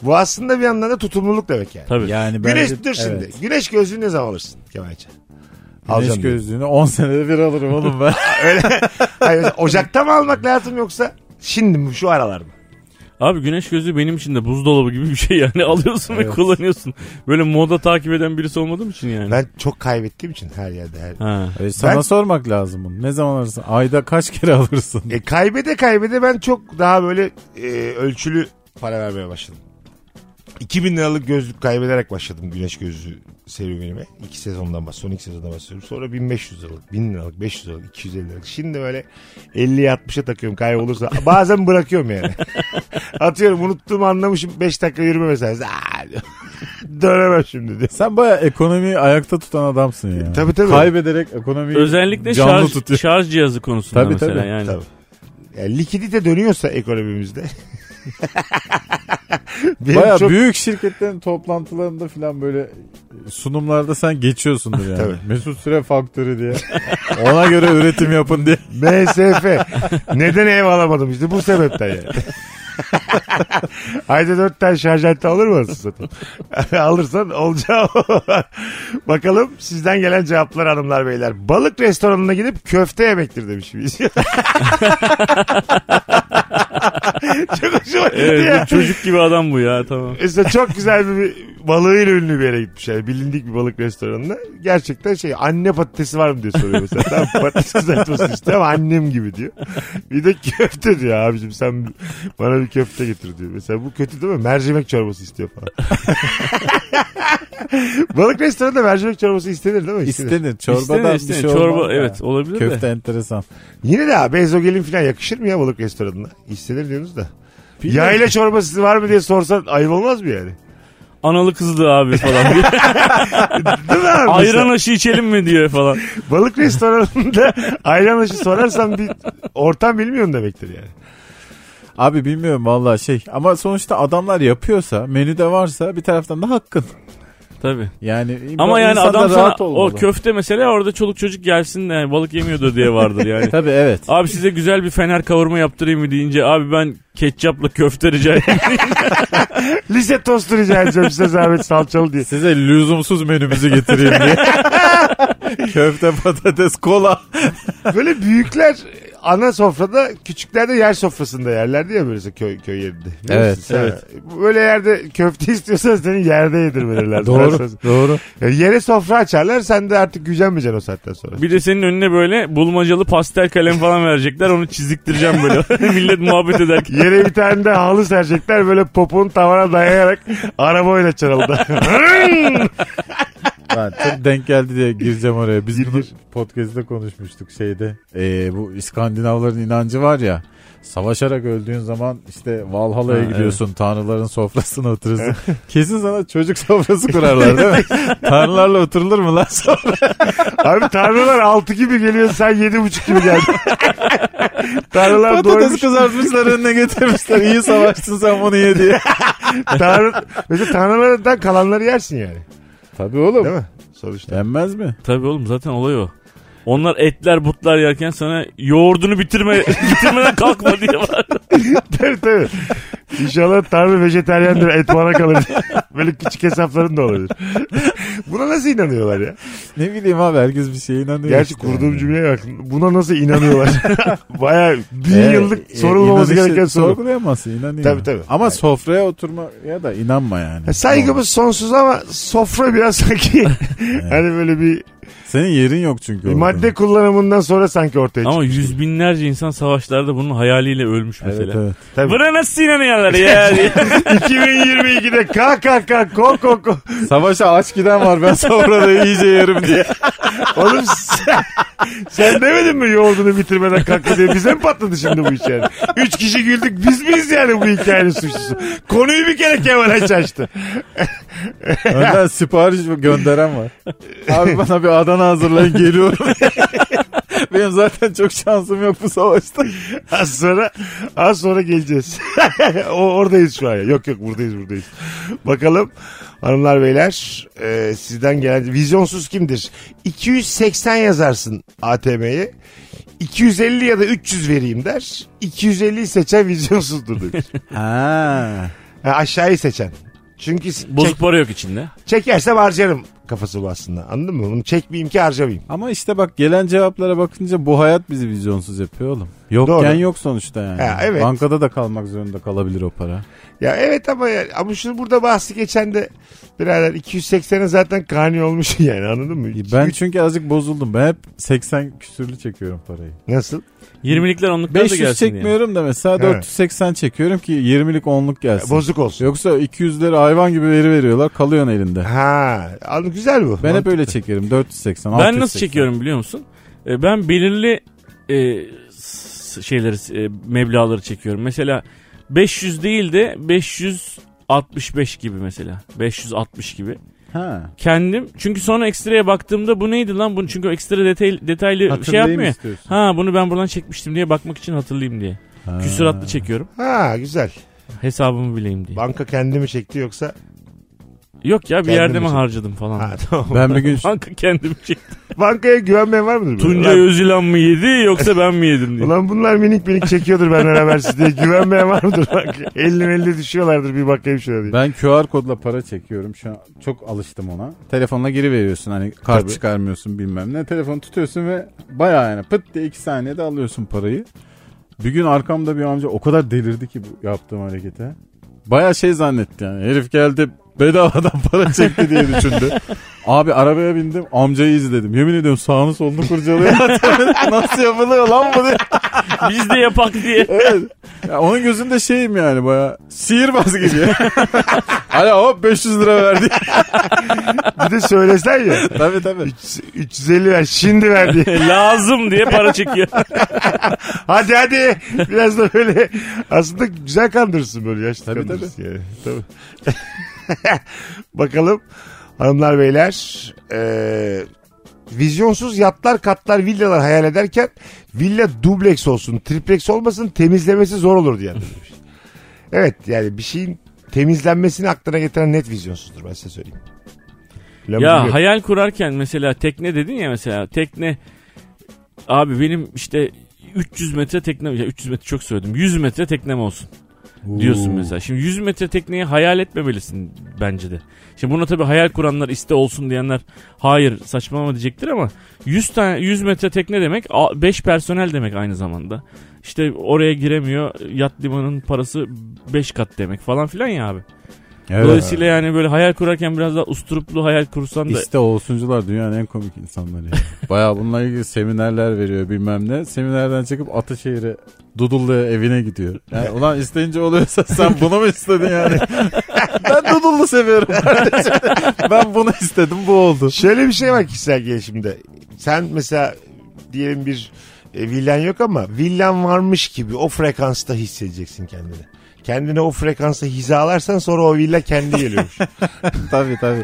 Speaker 3: bu aslında bir yandan da tutumluluk demek yani.
Speaker 5: Tabii.
Speaker 4: Yani
Speaker 3: Güneş
Speaker 4: bence-
Speaker 3: dur şimdi.
Speaker 4: evet.
Speaker 3: Güneş gözlüğünü ne zaman alırsın Kemal Ayçi?
Speaker 4: Güneş
Speaker 3: Alacağım diye.
Speaker 4: gözlüğünü 10 senede bir alırım oğlum ben.
Speaker 3: Öyle. Hayır, mesela Ocak'ta mı almak lazım yoksa şimdi mi şu aralar mı?
Speaker 5: Abi güneş gözlüğü benim için de buzdolabı gibi bir şey yani. Alıyorsun ve kullanıyorsun. Böyle moda takip eden birisi olmadığım için yani.
Speaker 3: Ben çok kaybettiğim için her yerde her.
Speaker 5: Ha.
Speaker 4: E, sana
Speaker 3: Ben-
Speaker 4: sormak lazım bunu. Ne zaman alırsın? Ayda kaç kere alırsın?
Speaker 3: E, kaybede kaybede ben çok daha böyle e, ölçülü para vermeye başladım. 2000 liralık gözlük kaybederek başladım güneş gözlüğü serüvenime. İki sezondan bas, son iki sezondan bahsediyorum. Sonra 1500 liralık, 1000 liralık, 500 liralık, 250 liralık. Şimdi böyle 50'ye 60'a takıyorum kaybolursa. Bazen bırakıyorum yani. Atıyorum unuttuğumu anlamışım 5 dakika yürüme mesela. Aa, Dönemem şimdi diyor.
Speaker 4: Sen baya ekonomiyi ayakta tutan adamsın ya.
Speaker 3: Tabii, tabii.
Speaker 4: Kaybederek ekonomiyi
Speaker 5: Özellikle
Speaker 4: canlı
Speaker 5: şarj,
Speaker 4: tutuyor.
Speaker 5: şarj cihazı konusunda
Speaker 4: Tabii,
Speaker 5: mesela
Speaker 4: tabii,
Speaker 5: yani.
Speaker 3: Tabii. Yani likidite dönüyorsa ekonomimizde. Benim
Speaker 4: Baya
Speaker 3: çok-
Speaker 4: büyük şirketlerin toplantılarında falan böyle e, sunumlarda sen geçiyorsundur yani.
Speaker 3: Tabii.
Speaker 4: Mesut Süre Faktörü diye. Ona göre üretim yapın diye.
Speaker 3: MSF. Neden ev alamadım işte bu sebepten yani. Ayda dört tane şarj aleti alır mı anasını satayım? Alırsan olacağı o. Bakalım sizden gelen cevaplar hanımlar beyler. Balık restoranına gidip köfte yemektir demiş biz. Çok hoşuma gitti
Speaker 5: Evet,
Speaker 3: ya.
Speaker 5: bu çocuk gibi adam bu ya tamam.
Speaker 3: Mesela çok güzel bir balığıyla ünlü bir yere gitmiş yani. Bilindik bir balık restoranına. Gerçekten şey anne patatesi var mı diye soruyor mesela. tamam patates kızartması işte ama annem gibi diyor. Bir de köfte diyor abicim sen bana bir köfte getir diyor. Mesela bu kötü değil mi? Mercimek çorbası istiyor falan. balık restoranında mercimek çorbası istenir değil mi? İstenir.
Speaker 4: İstenir. Çorbadan
Speaker 5: İstene,
Speaker 4: bir
Speaker 5: istene.
Speaker 4: şey
Speaker 5: Çorba
Speaker 4: olmaz ya.
Speaker 5: evet olabilir de.
Speaker 4: Köfte enteresan.
Speaker 3: Yine de abi ezogelin falan yakışır mı ya balık restoranına? İstenir diyorsunuz da.
Speaker 5: Bilmiyorum.
Speaker 3: Yayla çorbası var mı diye sorsan ayıp olmaz mı yani?
Speaker 5: Analı kızlı abi falan. Bir
Speaker 3: Değil mi abi?
Speaker 5: Ayran aşı içelim mi diyor falan.
Speaker 3: Balık restoranında ayran aşı sorarsan bir ortam bilmiyorsun demektir yani.
Speaker 4: Abi bilmiyorum vallahi şey ama sonuçta adamlar yapıyorsa menüde varsa bir taraftan da hakkın.
Speaker 5: Tabii.
Speaker 4: Yani
Speaker 5: Ama yani
Speaker 4: insan da
Speaker 5: adam sana
Speaker 4: rahat
Speaker 5: o
Speaker 4: olmalı.
Speaker 5: köfte mesela orada çoluk çocuk gelsin de yani balık yemiyordur diye vardır yani.
Speaker 4: Tabii evet.
Speaker 5: Abi size güzel bir fener kavurma yaptırayım mı deyince abi ben ketçapla köfte rica edeyim.
Speaker 3: Lise tostu rica edeceğim size zahmet salçalı diye.
Speaker 4: Size lüzumsuz menümüzü getireyim diye. Köfte, patates, kola.
Speaker 3: Böyle büyükler ana sofrada küçükler de yer sofrasında yerler diye böyle köy, köy yerinde. Biliyor
Speaker 4: Evet,
Speaker 3: musun? Ha, Böyle yerde köfte istiyorsan seni yerde yedirmelerler.
Speaker 4: Doğru, doğru.
Speaker 3: Yani yere sofra açarlar sen de artık gücenmeyeceksin o saatten sonra.
Speaker 5: Bir de senin önüne böyle bulmacalı pastel kalem falan verecekler onu çiziktireceğim böyle. Millet muhabbet ederken.
Speaker 3: Yere bir tane de halı serecekler böyle poponu tavana dayayarak araba oynatacaksın orada.
Speaker 4: Ben çok denk geldi diye gireceğim oraya. Biz
Speaker 3: Gir,
Speaker 4: bunu
Speaker 3: gir.
Speaker 4: podcast'te konuşmuştuk şeyde. Ee, bu İskandinavların inancı var ya. Savaşarak öldüğün zaman işte Valhalla'ya
Speaker 5: Ha,
Speaker 4: gidiyorsun. Tanrıların sofrasına oturursun. Kesin sana çocuk sofrası kurarlar değil mi? Tanrılarla oturulur mu lan sofra?
Speaker 3: Abi tarlalar 6 gibi geliyor sen 7.5 gibi geldin. tarlalar
Speaker 4: Patates
Speaker 3: doymuş.
Speaker 4: kızartmışlar önüne getirmişler. İyi savaştın sen bunu ye diye.
Speaker 3: Tarla, mesela tarlalardan kalanları yersin yani.
Speaker 4: Tabii oğlum.
Speaker 3: Değil mi? Sonuçta.
Speaker 4: Yenmez mi?
Speaker 5: Tabii oğlum zaten olay o. Onlar etler butlar yerken sana yoğurdunu bitirme bitirmeden kalkma diye var.
Speaker 3: tabii tabii. İnşallah tarla vejeteryandır et bana kalır. Böyle küçük hesapların da olabilir. Buna nasıl inanıyorlar ya?
Speaker 4: Ne bileyim abi herkes bir şeye inanıyor.
Speaker 3: Gerçi
Speaker 4: işte
Speaker 3: kurduğum
Speaker 4: yani.
Speaker 3: cümleye bak. Buna nasıl inanıyorlar? Baya bin
Speaker 4: Ee,
Speaker 3: yıllık
Speaker 4: e,
Speaker 3: sorulmaması
Speaker 4: inanışı
Speaker 3: gereken soru.
Speaker 4: Sorgulayamazsın inanıyor.
Speaker 3: Tabii, tabii.
Speaker 4: Ama
Speaker 3: Yani.
Speaker 4: sofraya oturmaya da inanma yani.
Speaker 3: Saygımız sonsuz ama sofra biraz sanki hani böyle bir
Speaker 4: Tamam. Senin yerin yok çünkü.
Speaker 3: Bir
Speaker 4: orada.
Speaker 3: E, madde kullanımından sonra sanki ortaya
Speaker 5: Ama
Speaker 3: çıktı.
Speaker 5: yüz binlerce insan savaşlarda bunun hayaliyle ölmüş
Speaker 4: Evet,
Speaker 5: mesela.
Speaker 4: evet.
Speaker 3: Tabii.
Speaker 5: Buna nasıl inanıyorlar ya? diye.
Speaker 3: 2022'de kalk kalk kalk ko ko ko.
Speaker 4: Savaşa aç giden var ben sonra da iyice yerim diye.
Speaker 3: Oğlum sen, sen demedin mi yoğurdunu bitirmeden kalktı diye. Bize mi patladı şimdi bu iş yani? Üç kişi güldük. Biz miyiz yani bu hikayenin suçlusu? Konuyu bir kere Kemal Ayça açtı.
Speaker 4: Önden sipariş gönderen var. Abi bana bir Adana hazırlayın geliyorum. Benim zaten çok şansım yok bu savaşta.
Speaker 3: Az sonra, az sonra geleceğiz. o, oradayız şu an. ya. Yok yok buradayız buradayız. Bakalım hanımlar beyler e, sizden gelen vizyonsuz kimdir? 280 yazarsın ATM'ye. 250 ya da 300 vereyim der. 250'yi seçen vizyonsuzdur demiş.
Speaker 4: Ha.
Speaker 3: Ha, aşağıyı seçen. Çünkü
Speaker 5: Bozuk para yok içinde.
Speaker 3: çekersem harcarım kafası bu aslında. Anladın mı? Bunu çekmeyeyim ki harcamayayım.
Speaker 4: Ama işte bak gelen cevaplara bakınca bu hayat bizi vizyonsuz yapıyor oğlum. Yokken
Speaker 3: Doğru.
Speaker 4: yok sonuçta yani.
Speaker 3: Ha, evet.
Speaker 4: Bankada da kalmak zorunda kalabilir o para.
Speaker 3: Ya evet ama ya, ama şunu burada bahsi geçen de birader 280'e zaten kani olmuş yani anladın mı?
Speaker 4: Ben çünkü azıcık bozuldum. Ben hep 80 küsürlü çekiyorum parayı.
Speaker 3: Nasıl?
Speaker 5: 20'likler onluklar da
Speaker 4: 500
Speaker 5: gelsin diye.
Speaker 4: çekmiyorum da mesela 480 çekiyorum ki 20'lik 10'luk gelsin.
Speaker 3: Bozuk olsun.
Speaker 4: Yoksa 200'leri hayvan gibi veri veriyorlar kalıyorsun elinde.
Speaker 3: Ha, anı güzel bu.
Speaker 4: Ben hep öyle çekerim 480
Speaker 5: Ben nasıl
Speaker 4: 680.
Speaker 5: çekiyorum biliyor musun? E, Ben belirli e, s- şeyleri, e, meblağları çekiyorum. Mesela 500 değil de 565 gibi mesela. 560 gibi.
Speaker 4: Ha.
Speaker 5: Kendim çünkü sonra ekstraya baktığımda bu neydi lan bunu çünkü o ekstra detay, detaylı şey
Speaker 4: Hatırlayayım
Speaker 5: yapmıyor. ya.
Speaker 4: istiyorsun.
Speaker 5: Ha bunu ben buradan çekmiştim diye bakmak için hatırlayayım diye. Küsuratlı çekiyorum.
Speaker 3: Ha güzel.
Speaker 5: Hesabımı bileyim diye.
Speaker 3: Banka kendimi çekti yoksa?
Speaker 5: Yok ya bir
Speaker 3: Kendim
Speaker 5: yerde mi
Speaker 3: için.
Speaker 5: harcadım falan.
Speaker 3: Ha tamam.
Speaker 4: Ben bir gün
Speaker 5: Banka kendim çekti.
Speaker 3: Bankaya güvenmeyen var mıdır?
Speaker 5: Tunca
Speaker 3: Ulan-
Speaker 5: Özülan mı yedi yoksa ben mi yedim diye.
Speaker 3: Ulan bunlar minik minik çekiyordur benden habersiz diye. Güvenmeyen var mıdır? bankaya? Elli elli düşüyorlardır bir bakayım şöyle diye.
Speaker 4: ben QR kodla para çekiyorum. Şu an çok alıştım ona. Telefonla geri veriyorsun hani kart
Speaker 3: Tabii.
Speaker 4: çıkarmıyorsun bilmem ne. Telefonu tutuyorsun ve bayağı yani pıt diye 2 saniyede alıyorsun parayı. Bir gün arkamda bir amca o kadar delirdi ki bu yaptığım harekete. Bayağı şey zannetti yani. Herif geldi bedavadan para çekti diye düşündü. Abi arabaya bindim amcayı izledim. Yemin ediyorum sağını solunu kurcalıyor. Nasıl yapılıyor lan bu diye.
Speaker 5: Biz de yapak diye.
Speaker 4: Evet. Ya onun gözünde şeyim yani baya sihirbaz gibi. Hala hop 500 lira verdi.
Speaker 3: Bir de söylesen ya.
Speaker 4: tabii tabii.
Speaker 3: 350 ver şimdi ver diye.
Speaker 5: Lazım diye para çekiyor.
Speaker 3: Hadi hadi. Biraz da böyle aslında güzel kandırırsın böyle yaşlı
Speaker 4: Tabii,
Speaker 3: kandırırsın yani. Tabii. Bakalım hanımlar beyler. Ee, vizyonsuz yatlar katlar villalar hayal ederken villa dubleks olsun triplex olmasın temizlemesi zor olur diye. evet yani bir şeyin temizlenmesini aklına getiren net vizyonsuzdur ben size söyleyeyim. Lafı
Speaker 5: ya
Speaker 3: biliyorum.
Speaker 5: hayal kurarken mesela tekne dedin ya mesela tekne. Abi benim işte 300 metre teknem, ya 300 metre çok söyledim. 100 metre teknem olsun diyorsun mesela. Şimdi 100 metre tekneyi hayal etmemelisin bence de. Şimdi buna tabii hayal kuranlar iste olsun diyenler hayır saçmalama diyecektir ama 100 tane 100 metre tekne demek 5 personel demek aynı zamanda. İşte oraya giremiyor yat limanın parası 5 kat demek falan filan ya abi. Dolayısıyla yani böyle hayal kurarken biraz daha usturuplu hayal kursan da
Speaker 4: İşte olsuncular dünyanın en komik insanları. ya. Baya bununla ilgili seminerler veriyor bilmem ne. Seminerden çıkıp Ataşehir'e Dudullu'ya evine gidiyor. Yani ulan isteyince oluyorsa sen bunu mu istedin yani? ben Dudullu seviyorum kardeşim. ben bunu istedim bu oldu.
Speaker 3: Şöyle bir şey var kişisel gelişimde. Sen mesela diyelim bir e, villan yok ama villan varmış gibi o frekansta hissedeceksin kendini. Kendine o frekansa hizalarsan sonra o villa kendi geliyormuş.
Speaker 4: tabii tabii.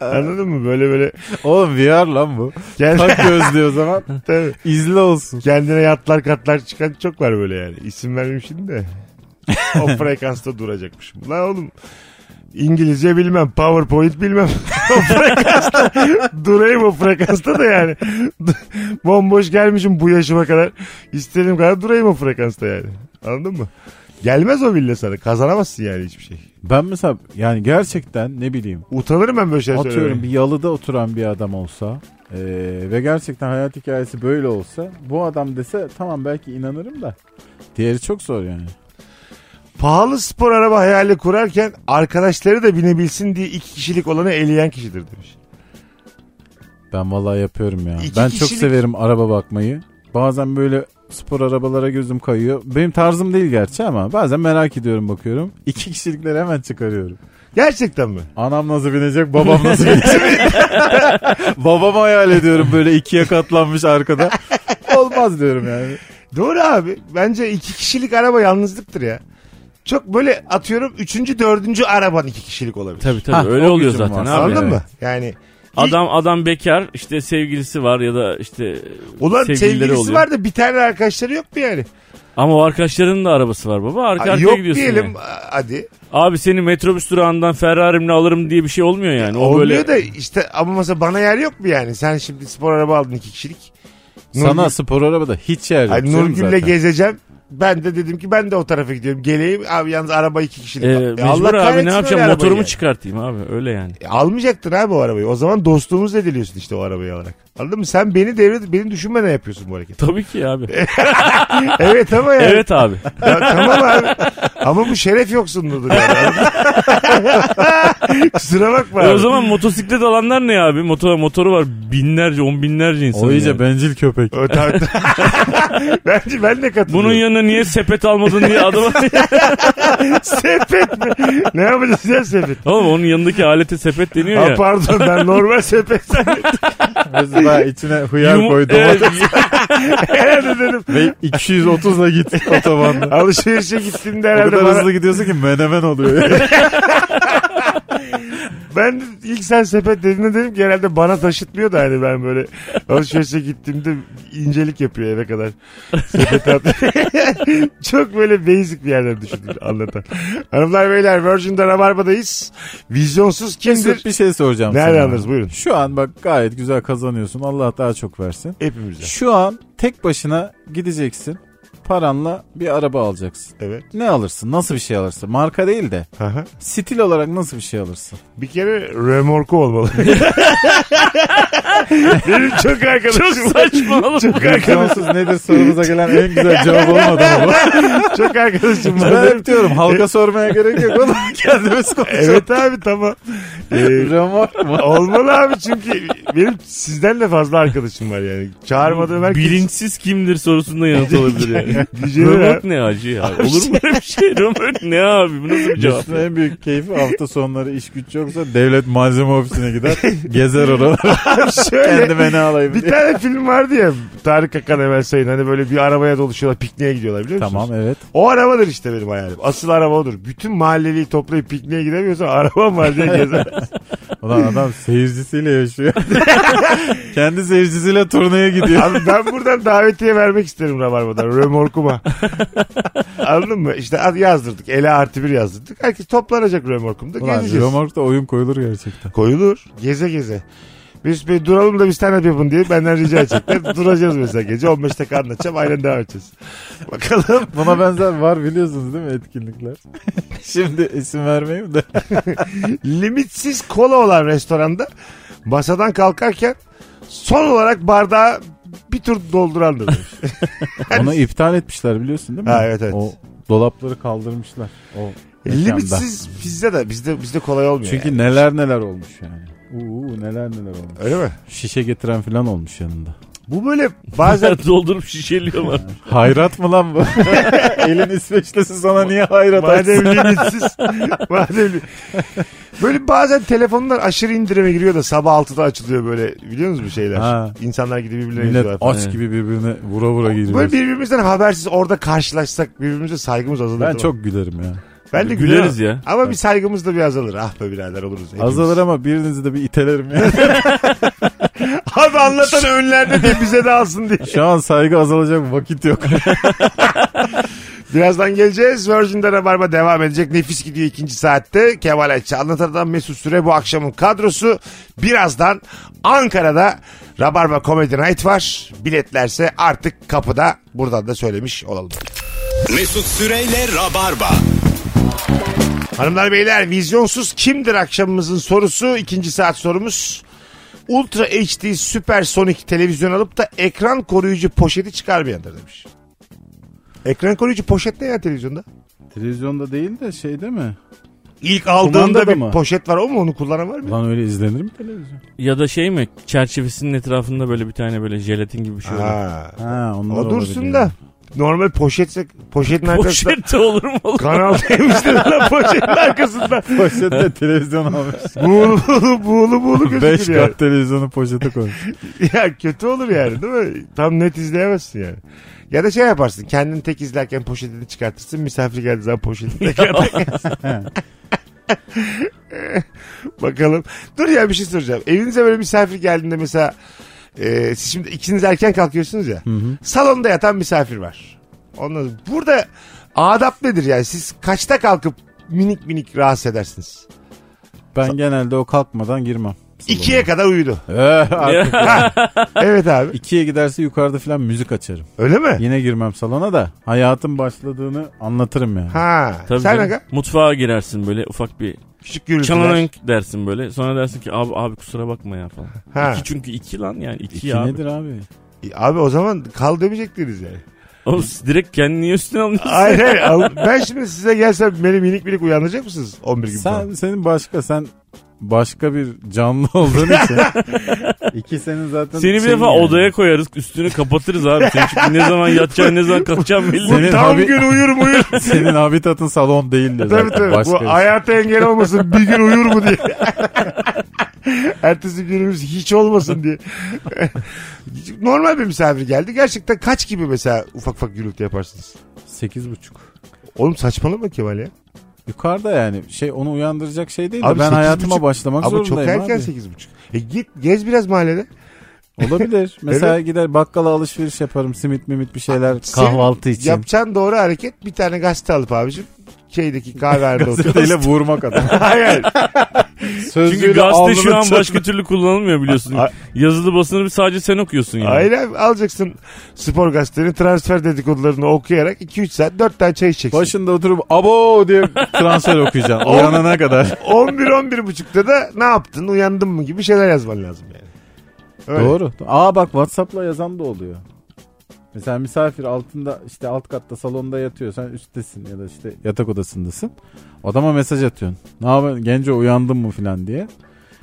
Speaker 3: Anladın mı? Böyle böyle
Speaker 4: Oğlum VR lan bu.
Speaker 3: Kend-
Speaker 4: Tak gözlüyor o zaman.
Speaker 3: tabii.
Speaker 4: İzle olsun.
Speaker 3: kendine yatlar katlar çıkan çok var böyle yani. İsim vermeyeyim şimdi de. O frekansta duracakmış. La oğlum İngilizce bilmem, PowerPoint bilmem. o frekansta durayım o frekansta da yani. Bomboş gelmişim bu yaşıma kadar. İstediğim kadar durayım o frekansta yani. Anladın mı? Gelmez o villa sana. Kazanamazsın yani hiçbir şey.
Speaker 4: Ben mesela yani gerçekten ne bileyim
Speaker 3: Utanırım ben böyle şeyler
Speaker 4: atıyorum
Speaker 3: söylemeye.
Speaker 4: bir yalıda oturan bir adam olsa eee, ve gerçekten hayat hikayesi böyle olsa bu adam dese tamam belki inanırım da diğeri çok zor yani.
Speaker 3: Pahalı spor araba hayali kurarken arkadaşları da binebilsin diye iki kişilik olanı eleyen kişidir demiş.
Speaker 4: Ben vallahi yapıyorum ya.
Speaker 3: İki
Speaker 4: ben çok
Speaker 3: kişilik-
Speaker 4: severim araba bakmayı. Bazen böyle spor arabalara gözüm kayıyor. Benim tarzım değil gerçi ama bazen merak ediyorum bakıyorum. İki kişilikleri hemen çıkarıyorum.
Speaker 3: Gerçekten mi?
Speaker 4: Anam nasıl binecek, babam nasıl binecek? Babamı hayal ediyorum böyle ikiye katlanmış arkada. Olmaz diyorum yani.
Speaker 3: Doğru abi. Bence iki kişilik araba yalnızlıktır ya. Çok böyle atıyorum üçüncü dördüncü araban iki kişilik olabilir.
Speaker 5: Tabii tabii
Speaker 4: Ha,
Speaker 5: öyle
Speaker 4: o
Speaker 5: oluyor
Speaker 4: gücüm
Speaker 5: zaten
Speaker 4: var.
Speaker 5: abi.
Speaker 3: Anladın
Speaker 4: evet.
Speaker 3: mı? Yani
Speaker 5: Adam adam bekar işte sevgilisi var ya da işte
Speaker 3: ulan
Speaker 5: sevgilileri
Speaker 3: sevgilisi
Speaker 5: oluyor.
Speaker 3: var da bir tane arkadaşları yok mu yani?
Speaker 5: Ama o arkadaşlarının da arabası var baba. Arka
Speaker 3: Ay,
Speaker 5: arkaya
Speaker 3: yok
Speaker 5: gidiyorsun
Speaker 3: diyelim
Speaker 5: yani.
Speaker 3: hadi.
Speaker 5: Abi seni metrobüs durağından Ferrari'mle alırım diye bir şey olmuyor yani. O
Speaker 3: E, Olmuyor
Speaker 5: böyle
Speaker 3: da işte ama mesela bana yer yok mu yani? Sen şimdi spor araba aldın iki kişilik.
Speaker 4: Sana spor arabada hiç yer yok.
Speaker 3: Ay,
Speaker 4: canım
Speaker 3: Nurgül'le
Speaker 4: zaten.
Speaker 3: gezeceğim. Ben de dedim ki ben de o tarafa gidiyorum. Geleyim abi yalnız araba iki kişilik.
Speaker 5: e,
Speaker 3: E,
Speaker 5: mecbur abi
Speaker 3: kahretsin
Speaker 5: ne
Speaker 3: öyle
Speaker 5: yapacağım
Speaker 3: arabayı
Speaker 5: motorumu
Speaker 3: yani.
Speaker 5: çıkartayım abi öyle yani.
Speaker 3: E, Almayacaktın abi o arabayı. O zaman dostluğumuz ediliyorsun işte o arabayı alarak. Anladın mı? Sen beni devre, beni düşünmeden yapıyorsun bu hareketi.
Speaker 5: Tabii ki abi.
Speaker 3: evet ama yani.
Speaker 5: evet abi.
Speaker 3: Ya, tamam abi. Ama bu şeref yoksunluğudur yani. Kusura bakma
Speaker 5: E
Speaker 3: abi.
Speaker 5: o zaman motosiklet alanlar ne abi? Motor, motoru var binlerce on binlerce insan.
Speaker 4: O iyice
Speaker 5: yani.
Speaker 4: bencil köpek.
Speaker 3: Ö, tabii, tabii. Bence ben de katılıyorum.
Speaker 5: Bunun yanına niye sepet almadın diye adama...
Speaker 3: sepet mi? Ne yapacağız ya sepet?
Speaker 5: Oğlum onun yanındaki alete sepet deniyor
Speaker 3: Ha,
Speaker 5: ya.
Speaker 3: pardon ben normal sepet zannettim.
Speaker 4: Biz daha içine hıyar
Speaker 5: Yum-
Speaker 4: koy
Speaker 5: Evet.
Speaker 4: domates
Speaker 3: herhalde dedim.
Speaker 4: ve 230'la git otobanda.
Speaker 3: Alışverişe gittiğimde
Speaker 4: O
Speaker 3: herhalde
Speaker 4: kadar
Speaker 3: bana,
Speaker 4: hızlı gidiyorsun ki menemen oluyor.
Speaker 3: ben de ilk sen sepet dediğinde dedim ki herhalde bana taşıtmıyor da hani ben böyle alışverişe gittiğimde incelik yapıyor eve kadar. Sepet at. Çok böyle basic bir yerden düşündüm anlatan. Hanımlar beyler Virgin'de Rabarba'dayız. Vizyonsuz kimdir?
Speaker 4: Mesut bir şey soracağım
Speaker 3: Nereden
Speaker 4: sana.
Speaker 3: alırız? Buyurun.
Speaker 4: Şu an bak gayet güzel kazanıyorsun. Allah daha çok versin.
Speaker 3: Hepimize.
Speaker 4: Şu an tek başına gideceksin. Paranla bir araba alacaksın.
Speaker 3: Evet.
Speaker 4: Ne alırsın? Nasıl bir şey alırsın? Marka değil de
Speaker 3: Aha.
Speaker 4: stil olarak nasıl bir şey alırsın?
Speaker 3: Bir kere remorku olmalı. Benim çok arkadaşım.
Speaker 5: Çok saçmalama.
Speaker 3: Çok arkadaşım.
Speaker 4: Vizyonsuz nedir sorumuza gelen en güzel cevap olmadı ama.
Speaker 3: Çok arkadaşım var.
Speaker 4: Ben hep diyorum halka sormaya gerek yok. Oğlum kendimiz konuşalım.
Speaker 3: Evet abi tamam. Ee,
Speaker 4: Remork mu?
Speaker 3: olmalı abi çünkü benim sizden de fazla arkadaşım var yani. Çağırmadığım herkes.
Speaker 5: Bilinçsiz kimdir sorusunda yanıt olabilir yani.
Speaker 3: Diyeceğim ya.
Speaker 5: Römork ne acı ya? Olur mu böyle bir şey? Römork ne abi? Bu nasıl bir cevap?
Speaker 4: Mesut'un en büyük keyfi hafta sonları iş güç yoksa devlet malzeme ofisine gider. gezer oraları.
Speaker 3: Şöyle
Speaker 4: Kendime ne alayım
Speaker 3: bir
Speaker 4: diye.
Speaker 3: tane film vardı ya Tarık Akan Emel Sayın hani böyle bir arabaya doluşuyorlar pikniğe gidiyorlar biliyor musunuz?
Speaker 4: Tamam evet.
Speaker 3: O arabadır işte benim hayalim. Asıl araba odur. Bütün mahalleliyi toplayıp pikniğe gidemiyorsan arabam var diye gezer.
Speaker 4: Ulan adam seyircisiyle yaşıyor. Kendi seyircisiyle turneye gidiyor.
Speaker 3: Abi ben buradan davetiye vermek isterim Rabarba'dan. Römorkuma. Anladın mı? İşte ad- yazdırdık. Ele artı bir yazdırdık. Herkes toplanacak römorkumda.
Speaker 4: Ulan
Speaker 3: Gezeceğiz.
Speaker 4: Romork'ta oyun koyulur gerçekten.
Speaker 3: Koyulur. Geze geze. Mesut Bey duralım da biz stand-up yapın diye benden rica edecekler. Duracağız mesela gece 15 dakika anlatacağım aynen devam edeceğiz. Bakalım.
Speaker 4: Buna benzer var biliyorsunuz değil mi etkinlikler? Şimdi isim vermeyeyim de.
Speaker 3: Limitsiz kola olan restoranda masadan kalkarken son olarak bardağı bir tur doldurandır. demiş.
Speaker 4: Onu iptal etmişler biliyorsun değil mi?
Speaker 3: Ha, evet, evet.
Speaker 4: O dolapları kaldırmışlar. O mekanda.
Speaker 3: Limitsiz bizde de bizde bizde kolay olmuyor.
Speaker 4: Çünkü
Speaker 3: yani.
Speaker 4: neler neler olmuş yani. Uuu neler neler olmuş.
Speaker 3: öyle mi?
Speaker 4: Şişe getiren falan olmuş yanında.
Speaker 3: Bu böyle bazen
Speaker 5: Bazen doldurup şişeliyorlar.
Speaker 4: Hayrat mı lan bu? Elin İsveçlisi sana niye hayrat
Speaker 3: Madem
Speaker 4: açsın?
Speaker 3: limitsiz. madem li- Böyle bazen telefonlar aşırı indirime giriyor da sabah 6'da açılıyor böyle biliyor musunuz bu şeyler?
Speaker 4: Ha.
Speaker 3: İnsanlar gidip birbirlerine
Speaker 4: Millet
Speaker 3: yazıyorlar falan.
Speaker 4: aç gibi birbirine vura vura giriyor.
Speaker 3: Böyle birbirimizden habersiz orada karşılaşsak birbirimize saygımız azalır. tamam.
Speaker 4: Ben çok gülerim ya.
Speaker 3: ben de
Speaker 5: Güleriz
Speaker 3: güleriz
Speaker 5: ya.
Speaker 3: Ama bir saygımız da bir azalır. Ah be birader oluruz. hepimiz.
Speaker 4: Azalır ama birinizi de bir itelerim ya.
Speaker 3: Abi anlatan önlerde diye bize de alsın diye.
Speaker 4: Şu an saygı azalacak vakit yok.
Speaker 3: Birazdan geleceğiz. Virgin'de Rabarba devam edecek. Nefis gidiyor ikinci saatte. Kemal Ayça anlatan adam Mesut Süre bu akşamın kadrosu. Birazdan Ankara'da Rabarba Comedy Night var. Biletlerse artık kapıda. Buradan da söylemiş olalım.
Speaker 2: Mesut Süreyle Rabarba.
Speaker 3: Hanımlar beyler vizyonsuz kimdir akşamımızın sorusu. ikinci saat sorumuz. Ultra HD süpersonik televizyon alıp da ekran koruyucu poşeti çıkarmayandır demiş. Ekran koruyucu poşet ne ya televizyonda?
Speaker 4: Televizyonda değil de şeyde mi?
Speaker 3: İlk aldığında
Speaker 4: Kumandada
Speaker 3: bir
Speaker 4: mı?
Speaker 3: poşet var o mu onu kullanan var mı?
Speaker 4: Lan öyle izlenir mi televizyon?
Speaker 5: Ya da şey mi çerçevesinin etrafında böyle bir tane böyle jelatin gibi bir şey olur.
Speaker 3: Ha.
Speaker 4: Ha, onlar
Speaker 3: O dursun
Speaker 4: olabilir.
Speaker 3: da normal poşetse poşetin arkasında
Speaker 5: Poşet şey de olur mu oğlum?
Speaker 3: kanal demişler lan poşetin arkasında.
Speaker 4: Poşette televizyon almış.
Speaker 3: Buğulu buğulu buğulu buğulu
Speaker 4: Beş
Speaker 3: gözüküyor.
Speaker 4: kat televizyonu poşete koymuş.
Speaker 3: Ya kötü olur yani değil mi? Tam net izleyemezsin yani. Ya da şey yaparsın kendin tek izlerken poşetini çıkartırsın misafir geldiği zaman poşetini tekrar takarsın. Bakalım. Dur ya bir şey soracağım. Evinize böyle misafir geldiğinde mesela e, siz şimdi ikiniz erken kalkıyorsunuz ya. Salonda yatan misafir var. Ondan sonra- burada adap nedir yani? Siz kaçta kalkıp minik minik rahatsız edersiniz?
Speaker 4: Ben genelde o kalkmadan girmem.
Speaker 3: İkiye kadar uyudu.
Speaker 4: Ee, artık
Speaker 3: evet abi.
Speaker 4: ikiye giderse yukarıda falan müzik açarım.
Speaker 3: Öyle mi?
Speaker 4: Yine girmem salona da hayatın başladığını anlatırım yani.
Speaker 3: Ha.
Speaker 5: Tabii
Speaker 3: Sen
Speaker 5: canım.
Speaker 3: aga?
Speaker 5: Mutfağa girersin böyle ufak bir
Speaker 3: Küçük gürültüler.
Speaker 5: çalank dersin böyle. Sonra dersin ki abi abi kusura bakma ya falan.
Speaker 3: Ha.
Speaker 5: İki çünkü iki lan yani iki,
Speaker 4: İki
Speaker 5: ya abi.
Speaker 4: nedir abi?
Speaker 3: E, Abi o zaman kal demeyecektiniz yani.
Speaker 5: Oğlum siz direkt kendini üstüne alıyorsun.
Speaker 3: Hayır hayır. Al- Ben şimdi size gelsem beni minik minik uyandıracak mısınız 11 gibi
Speaker 4: Sen
Speaker 3: falan?
Speaker 4: senin başka sen başka bir canlı olduğun için. İki senin zaten
Speaker 5: Seni bir
Speaker 4: şeyin
Speaker 5: defa
Speaker 4: yani.
Speaker 5: odaya koyarız üstünü kapatırız abi. Senin çünkü ne zaman yatacaksın ne zaman kalkacaksın belli değil.
Speaker 4: Senin
Speaker 3: Tam
Speaker 4: habi-
Speaker 3: gün uyurum uyur.
Speaker 4: senin habitatın salon değil de zaten.
Speaker 3: tabii tabii.
Speaker 4: Başka bir şey.
Speaker 3: Bu hayata engel olmasın bir gün uyur mu diye. Ertesi günümüz hiç olmasın diye. Normal bir misafir geldi. Gerçekten kaç gibi mesela ufak ufak gürültü yaparsınız?
Speaker 4: Sekiz buçuk.
Speaker 3: Oğlum saçmalama Kemal ya.
Speaker 4: Yukarıda yani şey onu uyandıracak şey değil de
Speaker 3: Abi
Speaker 4: ben
Speaker 3: sekiz
Speaker 4: hayatıma
Speaker 3: buçuk-
Speaker 4: başlamak
Speaker 3: Ama çok
Speaker 4: zorundayım
Speaker 3: erken
Speaker 4: abi.
Speaker 3: 8.30. E git gez biraz mahallede.
Speaker 4: Olabilir. Mesela gider bakkala alışveriş yaparım simit mimit bir şeyler
Speaker 3: Senin
Speaker 4: kahvaltı için.
Speaker 3: Yapacağın doğru hareket bir tane gazete alıp abicim şeydeki kahvehanede oturup.
Speaker 4: Gazeteyle vurmak adam.
Speaker 3: Hayır.
Speaker 5: Çünkü gazete şu an başka türlü kullanılmıyor biliyorsun.
Speaker 3: A-
Speaker 5: Yazılı basını bir sadece sen okuyorsun yani.
Speaker 3: Aynen alacaksın spor gazetelerini transfer dedikodularını okuyarak 2-3 saat 4 tane çay içeceksin.
Speaker 4: Başında oturup abo diye transfer okuyacaksın.
Speaker 3: Oğlum.
Speaker 4: Uyanana kadar.
Speaker 3: 11-11.30'da da ne yaptın uyandın mı gibi şeyler yazman lazım yani. Öyle.
Speaker 4: Doğru. Aa bak Whatsapp'la yazan da oluyor. Mesela misafir altında işte alt katta salonda yatıyor. Sen üsttesin ya da işte yatak odasındasın. Adama mesaj atıyorsun. Ne yapıyorsun? Gence uyandın mı filan diye.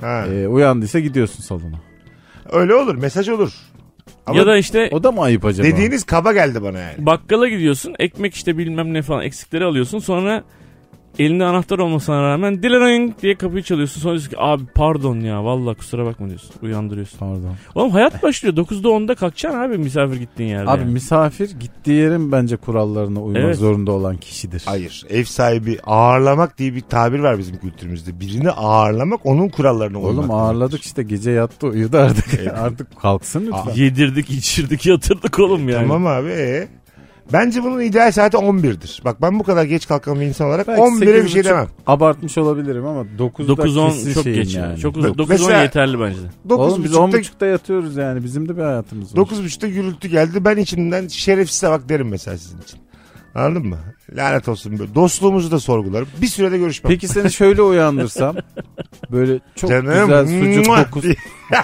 Speaker 3: Ha.
Speaker 4: Ee, uyandıysa gidiyorsun salona.
Speaker 3: Öyle olur mesaj olur. Ama
Speaker 5: Ya da işte
Speaker 4: O da mı ayıp acaba?
Speaker 3: dediğiniz kaba geldi bana yani.
Speaker 5: bakkala gidiyorsun ekmek işte bilmem ne falan eksikleri alıyorsun sonra elinde anahtar olmasına rağmen dilerang diye kapıyı çalıyorsun sonra diyorsun ki abi pardon ya vallahi kusura bakma diyorsun uyandırıyorsun.
Speaker 4: Pardon.
Speaker 5: Oğlum hayat başlıyor 9'da 10'da kalkacaksın abi misafir gittiğin yerde.
Speaker 4: Abi
Speaker 5: yani.
Speaker 4: misafir gittiği yerin bence kurallarına uymak
Speaker 5: Evet.
Speaker 4: zorunda olan kişidir.
Speaker 3: Hayır ev sahibi ağırlamak diye bir tabir var bizim kültürümüzde. Birini ağırlamak onun kurallarına uymak.
Speaker 4: Oğlum ağırladık işte gece yattı uyudu artık. artık kalksın lütfen.
Speaker 5: Yedirdik içirdik yatırdık oğlum yani.
Speaker 3: Tamam abi ee? Bence bunun ideal saati 11'dir. Bak ben bu kadar geç kalkan bir insan olarak
Speaker 4: Belki
Speaker 3: 11'e bir şey
Speaker 4: 8.30
Speaker 3: demem.
Speaker 4: Abartmış olabilirim ama 9'da
Speaker 5: 9-10
Speaker 4: kesin
Speaker 5: çok
Speaker 4: şeyim
Speaker 5: geç yani.
Speaker 4: yani.
Speaker 5: Çok uzun.
Speaker 3: Bak,
Speaker 5: 9-10
Speaker 3: mesela-
Speaker 5: yeterli bence.
Speaker 4: Oğlum biz
Speaker 3: 9.30'da
Speaker 4: 10.30'da yatıyoruz yani bizim de bir hayatımız var.
Speaker 3: 9.30'da gürültü geldi. Ben içimden şerefsize bak derim mesela sizin için. Anladın mı? Lanet olsun. Böyle. Dostluğumuzu da sorgularım. Bir sürede görüşmem.
Speaker 4: Peki seni şöyle uyandırsam böyle çok
Speaker 3: Canım,
Speaker 4: güzel sucuk
Speaker 3: mua
Speaker 4: kokusu.
Speaker 3: diye.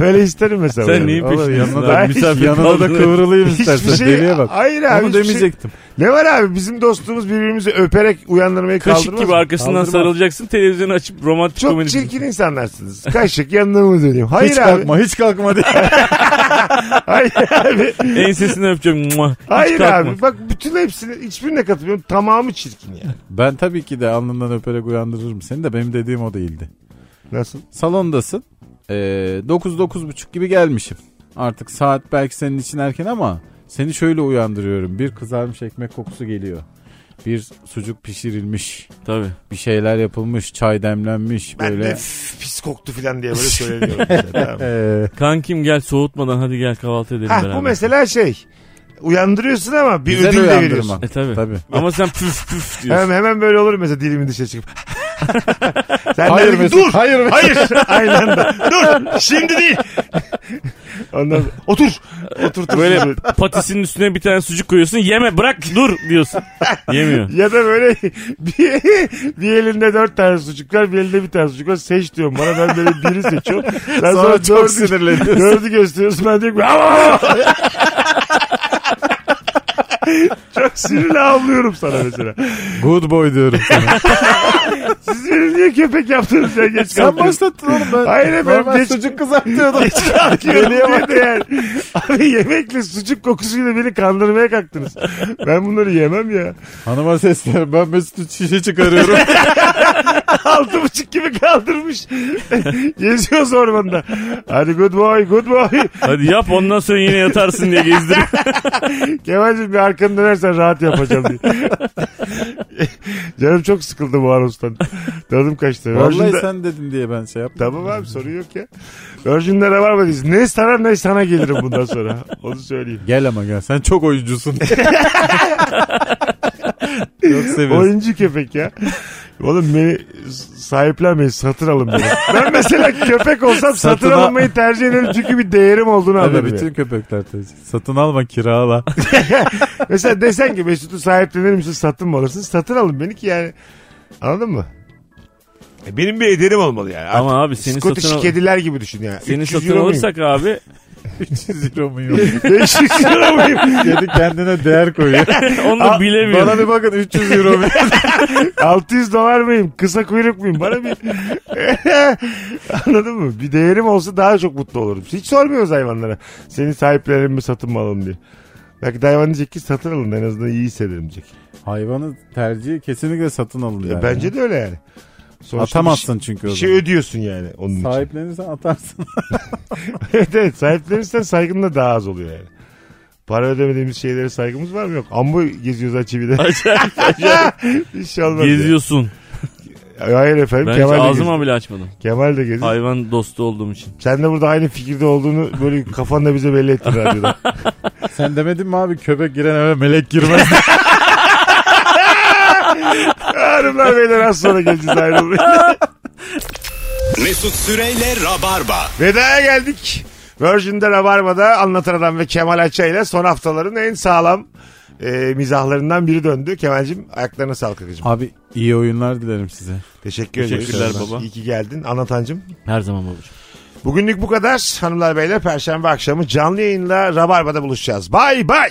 Speaker 3: Böyle isterim mesela.
Speaker 5: Sen
Speaker 3: yani.
Speaker 5: neyin
Speaker 4: Oğlum
Speaker 5: peşindesin
Speaker 4: yanına
Speaker 5: abi?
Speaker 4: da,
Speaker 5: Misafir
Speaker 4: şey yanına da
Speaker 5: kaldırıyor.
Speaker 4: kıvrılayım istersen.
Speaker 3: Hiçbir şey.
Speaker 4: Deliye bak.
Speaker 3: Hayır abi.
Speaker 4: Onu
Speaker 3: hiçbir şey-
Speaker 4: demeyecektim.
Speaker 3: Ne var abi? Bizim dostluğumuz birbirimizi öperek uyanırmaya kaldırmaz.
Speaker 5: Kaşık
Speaker 3: mı?
Speaker 5: gibi arkasından
Speaker 4: Kaldırmaz.
Speaker 5: sarılacaksın televizyonu açıp romantik
Speaker 3: Çok
Speaker 5: komedi.
Speaker 3: çirkin insanlarsınız. Kaşık yanına mı döneyim? Hayır
Speaker 4: hiç
Speaker 3: abi.
Speaker 4: kalkma hiç kalkma diye.
Speaker 3: Hayır abi.
Speaker 5: Ensesini öpeceğim. Mua. Hiç
Speaker 3: Hayır
Speaker 5: kalkma.
Speaker 3: abi. Bak bütün hepsini hiçbirine katılmıyorum. Tamamı çirkin yani.
Speaker 4: Ben tabii ki de alnından öperek uyandırırım seni de benim dediğim o değildi.
Speaker 3: Nasıl?
Speaker 4: Salondasın. Ee, 9-9.30 gibi gelmişim. Artık saat belki senin için erken ama seni şöyle uyandırıyorum. Bir kızarmış ekmek kokusu geliyor. Bir sucuk pişirilmiş.
Speaker 5: Tabii.
Speaker 4: Bir şeyler yapılmış. Çay demlenmiş.
Speaker 3: Ben
Speaker 4: böyle.
Speaker 3: de "Üf, pis koktu falan diye böyle söyleniyorum. mesela, tamam mı?
Speaker 4: Ee,
Speaker 5: Kankim gel soğutmadan hadi gel kahvaltı edelim
Speaker 3: Hah,
Speaker 5: beraber.
Speaker 3: bu mesela şey. Uyandırıyorsun ama bir
Speaker 4: Güzel
Speaker 3: ödül de
Speaker 4: uyandırma.
Speaker 3: veriyorsun.
Speaker 5: E tabii.
Speaker 4: Tabii.
Speaker 5: Ama sen püf püf diyorsun.
Speaker 3: Hemen, hemen böyle olur mesela dilimin dışarı çıkıp. Sen
Speaker 4: Hayır
Speaker 3: hayır
Speaker 4: Mesut,
Speaker 3: dur.
Speaker 4: hayır Mesut."
Speaker 3: Hayır. Aynı anda. Dur. Şimdi değil. Ondan sonra, otur. Oturtursun.
Speaker 5: Böyle patisinin üstüne bir tane sucuk koyuyorsun. Yeme bırak dur diyorsun. Yemiyor.
Speaker 3: Ya da böyle bir, bir elinde dört tane sucuk var bir elinde bir tane sucuk var seç diyorum bana ben böyle biri seçiyorum. Sen sonra,
Speaker 4: Sonra çok
Speaker 3: dördü-
Speaker 4: sinirleniyorsun.
Speaker 3: Dördü gösteriyorsun ben diyorum ki "Aa!" Çok sinirli avlıyorum sana mesela.
Speaker 4: Good boy diyorum sana.
Speaker 3: Siz beni niye köpek yaptınız ya geç
Speaker 4: Sen
Speaker 3: kalktınız.
Speaker 4: başlattın oğlum ben.
Speaker 3: Hayır efendim,
Speaker 4: Ben
Speaker 3: geç-
Speaker 4: sucuk kızartıyordum.
Speaker 3: Geç kalkıyorum diye de yani. Abi yemekle sucuk kokusuyla beni kandırmaya kalktınız. Ben bunları yemem ya.
Speaker 4: Hanıma sesler ben Mesut'u şişe çıkarıyorum.
Speaker 3: Altı buçuk gibi kaldırmış. Geziyoruz ormanda. Hadi good boy good boy.
Speaker 5: Hadi yap ondan sonra yine yatarsın diye gezdir.
Speaker 3: Kemal'cim bir arkanı dönersen rahat yapacağım diye. Canım çok sıkıldı bu Arus'tan. Tadım kaçtı.
Speaker 4: Vallahi
Speaker 3: Virgin'de-
Speaker 4: sen dedin diye ben şey yaptım.
Speaker 3: Tamam abi sorun yok ya. Virgin'de ne var mı diyorsun? Ne sana ne sana gelirim bundan sonra. Onu söyleyeyim.
Speaker 4: Gel ama gel sen çok oyuncusun. Çok seviyorsun.
Speaker 3: Oyuncu köpek ya. Oğlum beni sahiplenmeyin satın alın beni. Ben mesela köpek olsam satın,
Speaker 4: Satın al-
Speaker 3: alınmayı tercih ederim çünkü bir değerim olduğunu
Speaker 4: Tabii
Speaker 3: anlarım. ya.
Speaker 4: bütün köpekler tabii. Satın alma kirala.
Speaker 3: Mesela desen ki Mesut'u sahiplenir misin satın mı alırsın? Satın alın beni ki yani anladın mı? E, Benim bir ederim olmalı yani. Artık
Speaker 5: Ama abi seni
Speaker 3: Scottish
Speaker 5: satın al-
Speaker 3: kediler gibi düşün yani.
Speaker 5: Seni
Speaker 3: 300
Speaker 5: satın
Speaker 3: euro muyum?
Speaker 5: alırsak abi
Speaker 4: 300 euro mu yok?
Speaker 3: 500 euro muyum?
Speaker 4: Dedi kendine değer koyuyor.
Speaker 5: onu bilemiyorum.
Speaker 4: Bana bir bakın 300 euro mu?
Speaker 3: 600 dolar mıyım? Kısa kuyruk muyum? Bana bir... Anladın mı? Bir değerim olsa daha çok mutlu olurum. Hiç sormuyoruz hayvanlara. Seni sahiplenelim mi satın mı alalım diye. Belki de hayvan diyecek ki satın alın en azından iyi hissederim diyecek.
Speaker 4: Hayvanı tercihi kesinlikle satın
Speaker 3: E,
Speaker 4: alın yani.
Speaker 3: Bence de öyle yani. Sonuçta
Speaker 4: Atamazsın çünkü
Speaker 3: Bir
Speaker 4: o
Speaker 3: şey, bir
Speaker 4: zaman.
Speaker 3: şey ödüyorsun yani onun için.
Speaker 4: Sahiplenirsen atarsın.
Speaker 3: evet evet sahiplenirsen saygın da daha az oluyor yani. Para ödemediğimiz şeylere saygımız var mı? Yok. Ambo geziyoruz Açıvi'de.
Speaker 5: Acayip
Speaker 3: Bir şey olmaz. ya.
Speaker 5: geziyorsun.
Speaker 3: Hayır efendim.
Speaker 5: Ben hiç
Speaker 3: Kemal de, geziyor.
Speaker 5: ağzımı bile açmadım.
Speaker 3: Kemal de geziyor.
Speaker 5: Hayvan dostu olduğum için.
Speaker 3: Sen de burada aynı fikirde olduğunu böyle kafanda bize belli ettin radyoda.
Speaker 4: Sen demedin mi abi köpek giren eve melek girmez.
Speaker 3: Hanımlar beyler az sonra geleceğiz ayrılmayın.
Speaker 2: Mesut Süreyle Rabarba.
Speaker 3: Veda'ya geldik. Virgin'de Rabarba'da Anlatan Adam ve Kemal Ayça ile son haftaların en sağlam e, mizahlarından biri döndü. Kemal'cim ayaklarına sağlık kakacığım.
Speaker 4: abi iyi oyunlar dilerim size.
Speaker 3: Teşekkür ederiz.
Speaker 5: Teşekkürler baba.
Speaker 3: İyi ki geldin. Anlatancım.
Speaker 5: Her zaman babacığım.
Speaker 3: Bugünlük bu kadar. Hanımlar beyler perşembe akşamı canlı yayınla Rabarba'da buluşacağız. Bay bay.